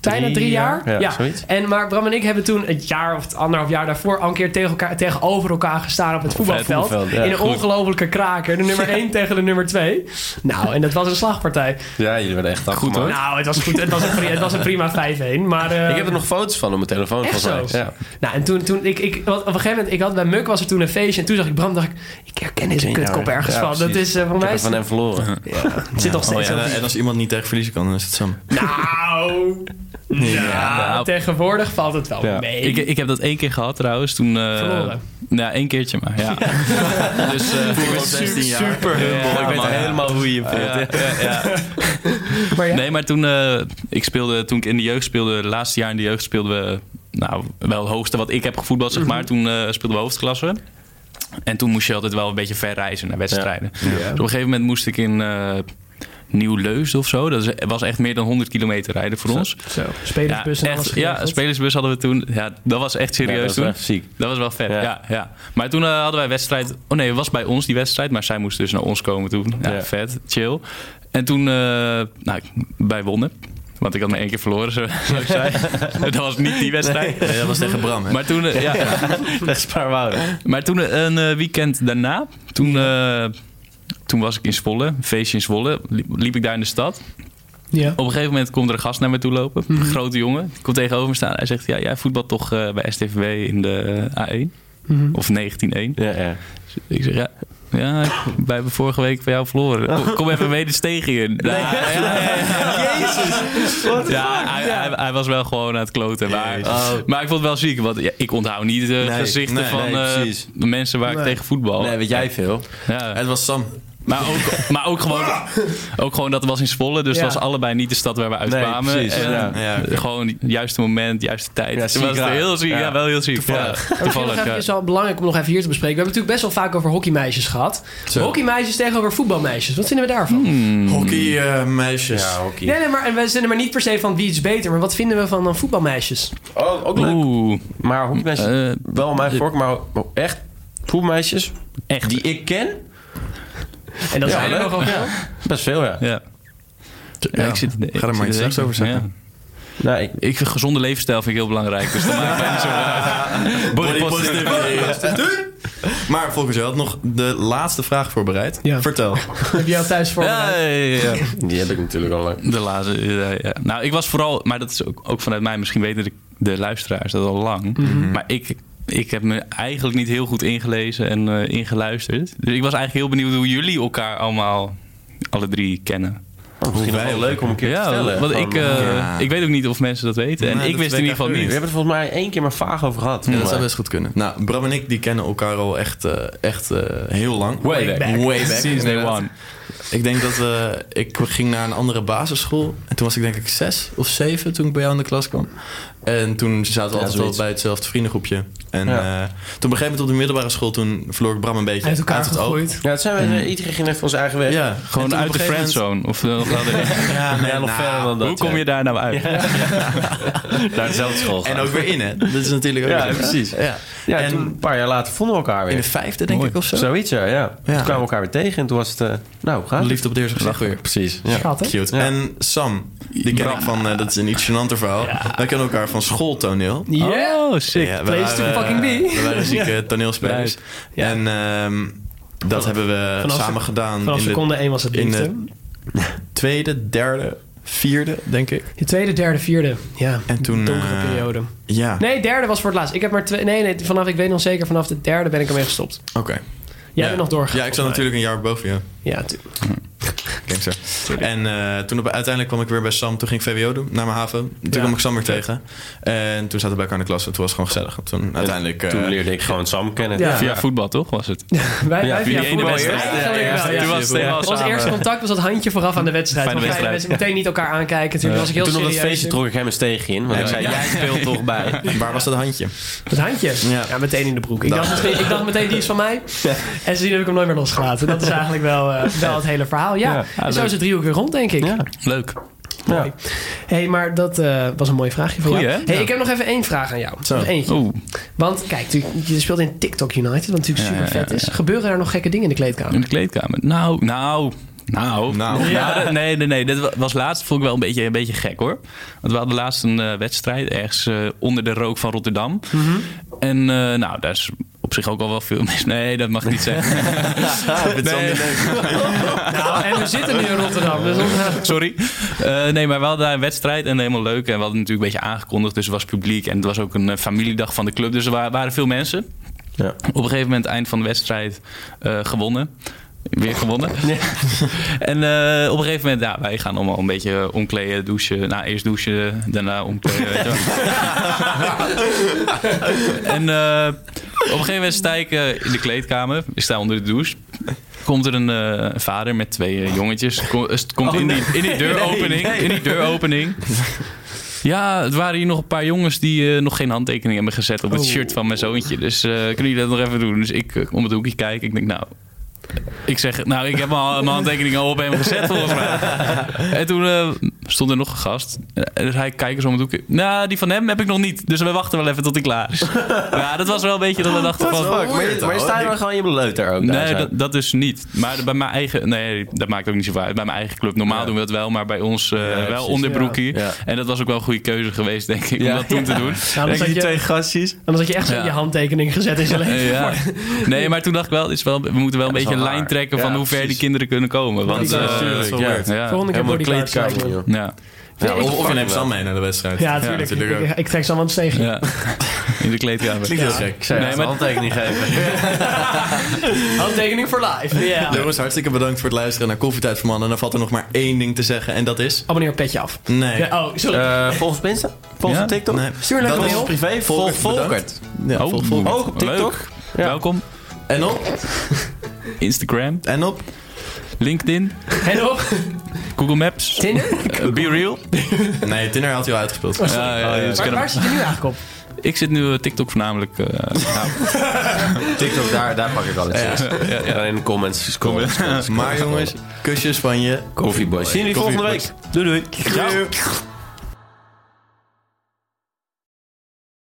[SPEAKER 1] bijna drie jaar.
[SPEAKER 2] jaar? Ja, zoiets.
[SPEAKER 1] En, maar Bram en ik hebben toen een jaar of het anderhalf jaar daarvoor al een keer tegen elkaar, tegenover elkaar gestaan op het voetbalveld.
[SPEAKER 2] voetbalveld, ja,
[SPEAKER 1] in een
[SPEAKER 2] goed.
[SPEAKER 1] ongelofelijke kraker. De nummer 1 tegen de nummer 2. Nou, en dat was een slagpartij.
[SPEAKER 2] Ja, jullie werden echt goed hoor.
[SPEAKER 1] Nou, het was goed. Het was een, pri- het was een prima 5-1. Maar, eh,
[SPEAKER 2] Ik heb er nog foto's van op mijn telefoon.
[SPEAKER 1] Echt
[SPEAKER 2] volgens
[SPEAKER 1] zo?
[SPEAKER 2] mij. Ja.
[SPEAKER 1] Nou, en toen, toen ik, ik, want op een gegeven moment, ik had, bij Muk was er toen een feestje. En toen zag ik Bram, dacht ik, ik herken deze
[SPEAKER 2] Ken jou,
[SPEAKER 1] kutkop
[SPEAKER 2] hè?
[SPEAKER 1] ergens
[SPEAKER 2] Ja,
[SPEAKER 1] van. Dat
[SPEAKER 2] precies.
[SPEAKER 1] is eh, voor
[SPEAKER 2] Ik
[SPEAKER 1] mij,
[SPEAKER 2] heb er
[SPEAKER 1] is-
[SPEAKER 2] van hem verloren.
[SPEAKER 1] het zit nog steeds
[SPEAKER 5] En,
[SPEAKER 1] op.
[SPEAKER 5] eh, en als iemand niet tegen verliezen kan, dan is het Sam.
[SPEAKER 1] Nou, ja, tegenwoordig valt het wel
[SPEAKER 2] Ja.
[SPEAKER 1] mee.
[SPEAKER 3] Ik, ik heb dat één keer gehad trouwens. Toen, eh,
[SPEAKER 1] Verloren.
[SPEAKER 3] Nou, één keertje maar.
[SPEAKER 1] <laughs>
[SPEAKER 3] Ja. dus eh, ik ben
[SPEAKER 5] Super,
[SPEAKER 3] super humble.
[SPEAKER 2] ik weet
[SPEAKER 3] man.
[SPEAKER 2] helemaal hoe je je voelt.
[SPEAKER 3] Ja, ja, ja. <laughs>
[SPEAKER 1] maar ja,
[SPEAKER 3] Nee, maar toen, eh, ik speelde, toen ik in de jeugd speelde, het laatste jaar in de jeugd speelden we nou, wel het hoogste wat ik heb gevoetbald, zeg
[SPEAKER 1] Mhm.
[SPEAKER 3] maar. Toen eh, speelden we hoofdklasse. En toen moest je altijd wel een beetje ver reizen naar wedstrijden. Dus op een gegeven moment moest ik in eh Nieuw-Leusden of zo. Dat is- was echt meer dan 100 kilometer rijden voor ons.
[SPEAKER 1] zo, spelersbus
[SPEAKER 3] ja,
[SPEAKER 1] en alles.
[SPEAKER 3] echt, ja,
[SPEAKER 1] geregeld.
[SPEAKER 3] spelersbus hadden we toen. Ja, dat was echt
[SPEAKER 2] Ja,
[SPEAKER 3] serieus
[SPEAKER 2] dat is
[SPEAKER 3] toen.
[SPEAKER 2] echt ziek.
[SPEAKER 3] Dat was wel vet,
[SPEAKER 2] Ja.
[SPEAKER 3] ja. ja, Maar toen eh, hadden wij wedstrijd... Oh nee, het was bij ons die wedstrijd. Maar zij moest dus naar ons komen toen. Ja,
[SPEAKER 2] Ja.
[SPEAKER 3] vet. Chill. En toen... eh nou, wij wonnen. Want ik had maar één keer verloren, zo- <laughs> zoals ik zei. dat was niet die wedstrijd.
[SPEAKER 5] Nee, dat was tegen Bram, hè?
[SPEAKER 3] Maar toen, eh, ja,
[SPEAKER 2] Dat is paar wouden.
[SPEAKER 3] maar toen eh, een eh, weekend daarna... Toen, eh, toen was ik in Zwolle. Een feestje in Zwolle. Liep, liep ik daar in de stad.
[SPEAKER 1] Ja.
[SPEAKER 3] Op een gegeven moment komt er een gast naar me toe lopen. Een grote jongen. Die komt tegenover me staan. Hij zegt, ja, jij voetbalt toch eh, bij STVW in de A1? Of 19-1?
[SPEAKER 2] Ja, ja.
[SPEAKER 3] Ik zeg, ja, ja ik- wij hebben vorige week van jou verloren. Kom, kom even mee de steeg in. Nou, ja, ja, ja. Ja, hij, hij, hij was wel gewoon aan het kloten. Maar,
[SPEAKER 2] Jezus.
[SPEAKER 3] maar ik vond het wel ziek, want ja, ik onthoud niet de
[SPEAKER 5] Nee,
[SPEAKER 3] gezichten
[SPEAKER 5] nee,
[SPEAKER 3] van
[SPEAKER 5] nee,
[SPEAKER 3] eh,
[SPEAKER 5] precies.
[SPEAKER 3] de mensen waar ik tegen voetbal.
[SPEAKER 2] Nee, weet jij veel?
[SPEAKER 3] Ja.
[SPEAKER 5] Het was Sam.
[SPEAKER 3] Maar, ook, maar ook, gewoon, ook gewoon dat het was in Zwolle, dus
[SPEAKER 1] Ja.
[SPEAKER 3] het was allebei niet de stad waar we uitkwamen.
[SPEAKER 2] Nee, precies,
[SPEAKER 3] En,
[SPEAKER 2] ja.
[SPEAKER 5] Ja, oké.
[SPEAKER 3] Gewoon het juiste moment, juiste tijd.
[SPEAKER 2] Ja,
[SPEAKER 3] Het
[SPEAKER 2] ziek
[SPEAKER 3] was
[SPEAKER 2] raar.
[SPEAKER 3] heel ziek,
[SPEAKER 2] Ja.
[SPEAKER 3] ja. wel heel ziek. Ja,
[SPEAKER 1] Maar misschien nog
[SPEAKER 3] toevallig.
[SPEAKER 1] even-
[SPEAKER 3] ja.
[SPEAKER 1] is wel belangrijk om nog even hier te bespreken. We hebben het natuurlijk best wel vaak over hockeymeisjes gehad. Hockeymeisjes tegenover voetbalmeisjes. Wat vinden we daarvan?
[SPEAKER 5] eh, Hockeymeisjes.
[SPEAKER 2] Mm. hockey.
[SPEAKER 1] Nee, nee, maar en we zijn er maar niet per se van wie is beter. Maar wat vinden we van dan voetbalmeisjes?
[SPEAKER 2] Oh, ook leuk.
[SPEAKER 3] Oeh,
[SPEAKER 2] Maar hockeymeisjes,
[SPEAKER 3] Eh,
[SPEAKER 2] wel mijn voorkeur, maar echt hockeymeisjes
[SPEAKER 3] echt.
[SPEAKER 2] die ik ken,
[SPEAKER 1] En dat
[SPEAKER 2] Ja,
[SPEAKER 1] zijn er
[SPEAKER 2] leuk.
[SPEAKER 1] nogal veel.
[SPEAKER 2] best veel ja.
[SPEAKER 3] Ja. Ja, ik zit, ik
[SPEAKER 5] Ga er maar iets
[SPEAKER 3] slechts
[SPEAKER 5] slechts over zeggen.
[SPEAKER 2] Nou, ik,
[SPEAKER 3] Ik, een gezonde levensstijl vind ik heel belangrijk. Dus dat maakt mij niet zo
[SPEAKER 5] <laughs>
[SPEAKER 3] uit. Body positive.
[SPEAKER 5] Maar volgens jou had nog de laatste vraag voorbereid.
[SPEAKER 1] Ja.
[SPEAKER 5] Vertel.
[SPEAKER 1] Heb jij al thuis voor?
[SPEAKER 3] Ja, ja, ja, ja.
[SPEAKER 2] die heb ik natuurlijk al lang.
[SPEAKER 3] De laatste. ja, ja. Nou, ik was vooral, maar dat is ook, ook vanuit mij. Misschien weten de, de luisteraars dat al
[SPEAKER 5] Mhm.
[SPEAKER 3] lang. Mm-hmm. Maar ik, ik heb me eigenlijk niet heel goed ingelezen en eh, ingeluisterd. Dus ik was eigenlijk heel benieuwd hoe jullie elkaar allemaal, alle drie, kennen.
[SPEAKER 2] Misschien nog wel
[SPEAKER 5] wij-
[SPEAKER 2] leuk om een keer te vertellen.
[SPEAKER 3] want
[SPEAKER 2] Van-
[SPEAKER 3] ik, eh,
[SPEAKER 5] ja.
[SPEAKER 3] ik weet ook niet of mensen dat weten. En
[SPEAKER 5] Nee,
[SPEAKER 3] ik
[SPEAKER 5] dat
[SPEAKER 3] wist in
[SPEAKER 5] weet
[SPEAKER 3] ieder geval
[SPEAKER 5] ik
[SPEAKER 2] We
[SPEAKER 3] niet.
[SPEAKER 2] hebben het volgens mij één keer maar vaag over gehad.
[SPEAKER 5] Ja, dat zou
[SPEAKER 2] volgens
[SPEAKER 5] best goed kunnen. Nou, Bram en ik die kennen elkaar al echt, eh, echt eh, heel lang.
[SPEAKER 3] Way back.
[SPEAKER 5] Way back.
[SPEAKER 3] Sinds day
[SPEAKER 5] inderdaad.
[SPEAKER 3] one.
[SPEAKER 5] Ik denk dat we, ik ging naar een andere basisschool. En toen was ik denk ik zes of zeven toen ik bij jou in de klas kwam. En toen zaten we altijd wel
[SPEAKER 2] zoiets.
[SPEAKER 5] bij hetzelfde vriendengroepje. En
[SPEAKER 2] Ja.
[SPEAKER 5] eh, toen op een gegeven moment op de middelbare school, toen verloor ik Bram een beetje
[SPEAKER 1] Uit elkaar
[SPEAKER 5] het oog.
[SPEAKER 1] gegooid.
[SPEAKER 2] mij. Ja, het zijn we, iedereen ging even onze eigen weg.
[SPEAKER 5] Ja, en toen op
[SPEAKER 3] Gewoon
[SPEAKER 5] een
[SPEAKER 3] uit de
[SPEAKER 5] gegeven moment-
[SPEAKER 3] friendzone. Of, eh, nog wel
[SPEAKER 5] <laughs>
[SPEAKER 3] de-
[SPEAKER 2] Ja, nee, nog
[SPEAKER 5] nou,
[SPEAKER 2] verder dan dat.
[SPEAKER 3] hoe kom je daar nou uit?
[SPEAKER 2] naar dezelfde school?
[SPEAKER 5] En
[SPEAKER 2] gaan.
[SPEAKER 5] ook weer in, hè? <laughs> Dat is natuurlijk ook
[SPEAKER 2] Ja,
[SPEAKER 5] weer-
[SPEAKER 2] precies.
[SPEAKER 5] Ja.
[SPEAKER 2] ja,
[SPEAKER 5] en-
[SPEAKER 2] toen, een paar jaar later vonden we elkaar
[SPEAKER 5] In de
[SPEAKER 2] weer.
[SPEAKER 5] vijfde, denk ik, of zo.
[SPEAKER 2] Zoiets, ja. ja. Toen kwamen we elkaar weer tegen en toen was het... eh, nou, hoe gaat het?
[SPEAKER 5] Liefde op het eerste gezicht weer.
[SPEAKER 2] Precies. Ja.
[SPEAKER 1] Schat, hè?
[SPEAKER 5] Cute.
[SPEAKER 2] Ja.
[SPEAKER 5] En Sam, die ken ik van, eh, dat is een iets gênanter verhaal. Wij kennen elkaar van schooltoneel.
[SPEAKER 1] Ja.
[SPEAKER 3] Oh, sick.
[SPEAKER 5] Ja, we
[SPEAKER 1] place to
[SPEAKER 5] waren- eh,
[SPEAKER 1] fucking be.
[SPEAKER 5] We waren
[SPEAKER 1] <laughs>
[SPEAKER 5] zieke toneelspelers. En ehm, dat hebben we
[SPEAKER 1] vanaf
[SPEAKER 5] samen gedaan
[SPEAKER 1] Vanaf
[SPEAKER 5] in de
[SPEAKER 1] seconde 1 was het
[SPEAKER 5] in
[SPEAKER 1] liefde.
[SPEAKER 5] de- tweede, derde, vierde, denk ik.
[SPEAKER 1] De tweede, derde, vierde. Ja,
[SPEAKER 5] En toen...
[SPEAKER 1] donkere
[SPEAKER 5] eh,
[SPEAKER 1] periode.
[SPEAKER 5] Ja,
[SPEAKER 1] Nee, derde was voor het laatst. Ik heb maar twee... Nee, nee, vanaf, ik weet nog zeker, vanaf de derde ben ik ermee gestopt.
[SPEAKER 5] oké.
[SPEAKER 1] Jij
[SPEAKER 5] Ja.
[SPEAKER 1] bent nog doorgegaan.
[SPEAKER 5] Ja, ik zat natuurlijk een jaar boven jou.
[SPEAKER 1] Ja, natuurlijk.
[SPEAKER 5] Kijk zo. En eh, toen op, uiteindelijk kwam ik weer bij Sam. Toen ging ik VWO doen, naar mijn haven. Toen kwam ik Sam weer tegen. En toen zaten we bij elkaar in de klas. En toen was het gewoon gezellig. Toen uiteindelijk... eh,
[SPEAKER 2] Toen leerde ik gewoon Sam kennen.
[SPEAKER 1] Ja.
[SPEAKER 3] Via voetbal, toch? Was het?
[SPEAKER 1] Wij, wij
[SPEAKER 3] via
[SPEAKER 1] via
[SPEAKER 3] die ene
[SPEAKER 1] voetbal
[SPEAKER 3] wedstrijd. eh,
[SPEAKER 1] eerst. Eigenlijk wel, ja.
[SPEAKER 3] Toen was
[SPEAKER 2] eh,
[SPEAKER 3] het helemaal
[SPEAKER 1] Ons
[SPEAKER 3] samen.
[SPEAKER 1] eerste contact was dat handje vooraf aan de wedstrijd.
[SPEAKER 3] Fijne
[SPEAKER 1] Want wij
[SPEAKER 3] wedstrijd.
[SPEAKER 1] mensen meteen niet elkaar aankijken. Natuurlijk was ik heel
[SPEAKER 2] Toen op dat
[SPEAKER 1] serieus.
[SPEAKER 2] feestje trok ik hem eens tegen in. Want ik zei, jij speelt toch bij.
[SPEAKER 5] Waar was dat handje?
[SPEAKER 1] Het handje? Ja.
[SPEAKER 5] Ja.
[SPEAKER 1] meteen in de broek. Ik dacht, misschien- ik dacht meteen, die is van mij. En sindsdien heb ik hem nooit meer losgelaten. Dat is eigenlijk wel, eh, wel het hele verhaal. Ja,
[SPEAKER 2] Ja.
[SPEAKER 1] en zo is het driehoek weer rond, denk ik.
[SPEAKER 3] Leuk.
[SPEAKER 2] Ja.
[SPEAKER 1] hey, maar dat eh, was een mooi vraagje voor
[SPEAKER 3] Goeie,
[SPEAKER 1] jou.
[SPEAKER 3] hè?
[SPEAKER 1] hey, ik heb nog even één vraag aan jou. Nog eentje.
[SPEAKER 3] Oeh.
[SPEAKER 1] Want kijk, tu- je speelt in TikTok United, wat natuurlijk super vet is. Gebeuren daar nog gekke dingen in de kleedkamer?
[SPEAKER 3] In de kleedkamer. Nou, nou. Nou,
[SPEAKER 5] Nou.
[SPEAKER 3] Ja, dat- nee, nee, nee. Dat wa- was laatst, vond ik wel een beetje, een beetje gek hoor. Want we hadden laatst een eh, wedstrijd ergens eh, onder de rook van Rotterdam.
[SPEAKER 5] Mhm.
[SPEAKER 3] En eh, nou, daar is op zich ook al wel veel mis. Nee, dat mag ik niet
[SPEAKER 5] <laughs>
[SPEAKER 3] zeggen. Nee.
[SPEAKER 1] Nou, <laughs> en we zitten nu in Rotterdam. Dus dat-
[SPEAKER 3] <laughs> Sorry. Eh, nee, maar we hadden daar een wedstrijd en helemaal leuk. En we hadden natuurlijk een beetje aangekondigd, dus er was publiek. En het was ook een eh, familiedag van de club, dus er wa- waren veel mensen.
[SPEAKER 2] Ja.
[SPEAKER 3] Op een gegeven moment, eind van de wedstrijd, eh, gewonnen. Weer gewonnen. <laughs> En eh, op een gegeven moment, ja, wij gaan allemaal een beetje omkleden, douchen. Nou, eerst douchen, daarna omkleden. weet je wel. en eh, op een gegeven moment sta ik eh, in de kleedkamer. Ik sta onder de douche. Komt er een eh, vader met twee eh, jongetjes. Kom- het komt in, die, in die deuropening. In die deuropening. Ja, het waren hier nog een paar jongens die eh, nog geen handtekening hebben gezet op het shirt van mijn zoontje. Dus eh, kunnen jullie dat nog even doen? Dus ik eh, om het hoekje kijk. Ik denk, nou, ik zeg, nou, ik heb al mijn handtekening al op hem gezet volgens mij. En toen eh, stond er nog een gast. En dus hij kijkt zo om het hoekje. Nou, die van hem heb ik nog niet. Dus we wachten wel even tot hij klaar is. ja, dat was wel een beetje dat we dachten van...
[SPEAKER 2] Fuck, Oh, maar, je, maar je staat dan gewoon je bleuter ook daar
[SPEAKER 3] Oh, Nee,
[SPEAKER 2] zo.
[SPEAKER 3] dat, dat is niet. Maar bij mijn eigen... Nee, dat maakt ook niet zoveel uit. Bij mijn eigen club. Normaal doen we dat wel, maar bij ons eh, wel onderbroekje.
[SPEAKER 2] Ja.
[SPEAKER 3] En dat was ook wel een goede keuze geweest, denk ik, om
[SPEAKER 2] Ja.
[SPEAKER 3] dat toen te doen.
[SPEAKER 1] Nou, anders,
[SPEAKER 2] Kijk,
[SPEAKER 1] had
[SPEAKER 2] die
[SPEAKER 1] je,
[SPEAKER 2] twee gastjes.
[SPEAKER 1] anders had je echt zo
[SPEAKER 3] Ja.
[SPEAKER 1] je handtekening gezet in zijn leven.
[SPEAKER 3] eh,
[SPEAKER 1] <laughs>
[SPEAKER 3] Ja. Nee, maar toen dacht ik wel, is wel we moeten wel een
[SPEAKER 2] dat is
[SPEAKER 3] beetje een
[SPEAKER 2] wel
[SPEAKER 3] lijn
[SPEAKER 2] raar.
[SPEAKER 3] trekken van
[SPEAKER 2] Ja,
[SPEAKER 3] hoe ver die
[SPEAKER 2] precies.
[SPEAKER 3] kinderen kunnen komen. Want,
[SPEAKER 1] Ja,
[SPEAKER 3] eh,
[SPEAKER 5] natuurlijk, dat is wel
[SPEAKER 3] ja,
[SPEAKER 5] weird.
[SPEAKER 3] ja.
[SPEAKER 1] Volgende keer
[SPEAKER 2] Helemaal
[SPEAKER 1] bodyguards.
[SPEAKER 2] kleedkamer,
[SPEAKER 1] Ja,
[SPEAKER 2] joh.
[SPEAKER 3] Ja,
[SPEAKER 5] Ja,
[SPEAKER 1] ik-
[SPEAKER 5] of, of je neemt ze dan mee naar de wedstrijd.
[SPEAKER 1] ja, tuurlijk.
[SPEAKER 5] natuurlijk ook.
[SPEAKER 1] ik, ik trek ze allemaal het steegje.
[SPEAKER 3] ja. <laughs> in de kleedkamer.
[SPEAKER 5] Klinkt heel gek.
[SPEAKER 2] Ik zou je
[SPEAKER 3] Nee,
[SPEAKER 2] echt
[SPEAKER 3] maar-
[SPEAKER 2] een handtekening geven.
[SPEAKER 1] Handtekening voor live. Ja.
[SPEAKER 5] Jongens, hartstikke bedankt voor het luisteren naar Koffietijd voor Mannen. Dan valt er nog maar één ding te zeggen en dat is...
[SPEAKER 1] Abonneer op Petje Af.
[SPEAKER 5] Nee.
[SPEAKER 1] Ja, oh, sorry.
[SPEAKER 2] Eh, volg ons op Insta. Volg ons
[SPEAKER 3] Ja.
[SPEAKER 2] op TikTok.
[SPEAKER 5] Nee.
[SPEAKER 1] Stuur een
[SPEAKER 5] dat
[SPEAKER 1] leuke
[SPEAKER 5] is
[SPEAKER 1] mail.
[SPEAKER 2] Privé, volg
[SPEAKER 5] Volkert,
[SPEAKER 2] Volkert.
[SPEAKER 5] bedankt. Ja,
[SPEAKER 3] Oh,
[SPEAKER 5] volg- volg-
[SPEAKER 2] Ook op TikTok. Ja.
[SPEAKER 3] Welkom.
[SPEAKER 5] En op?
[SPEAKER 3] Instagram,
[SPEAKER 5] En op?
[SPEAKER 3] LinkedIn,
[SPEAKER 1] En op
[SPEAKER 3] Google Maps,
[SPEAKER 1] Tinder.
[SPEAKER 3] eh, Be Real.
[SPEAKER 5] Nee, Tinder had hij al uitgespeeld.
[SPEAKER 3] Ja, ja, dus
[SPEAKER 1] Waar,
[SPEAKER 3] kunnen-
[SPEAKER 1] waar zit je nu eigenlijk op?
[SPEAKER 3] Ik zit nu eh, TikTok voornamelijk. eh, nou,
[SPEAKER 2] TikTok, daar, daar pak ik al het ja. Dan in de comments. scrollen, <laughs> scrollen, scrollen,
[SPEAKER 5] Maar
[SPEAKER 2] scrollen.
[SPEAKER 5] jongens, kusjes van je
[SPEAKER 2] Coffee Boys. Zien jullie volgende week. Doei doei.
[SPEAKER 5] Doei.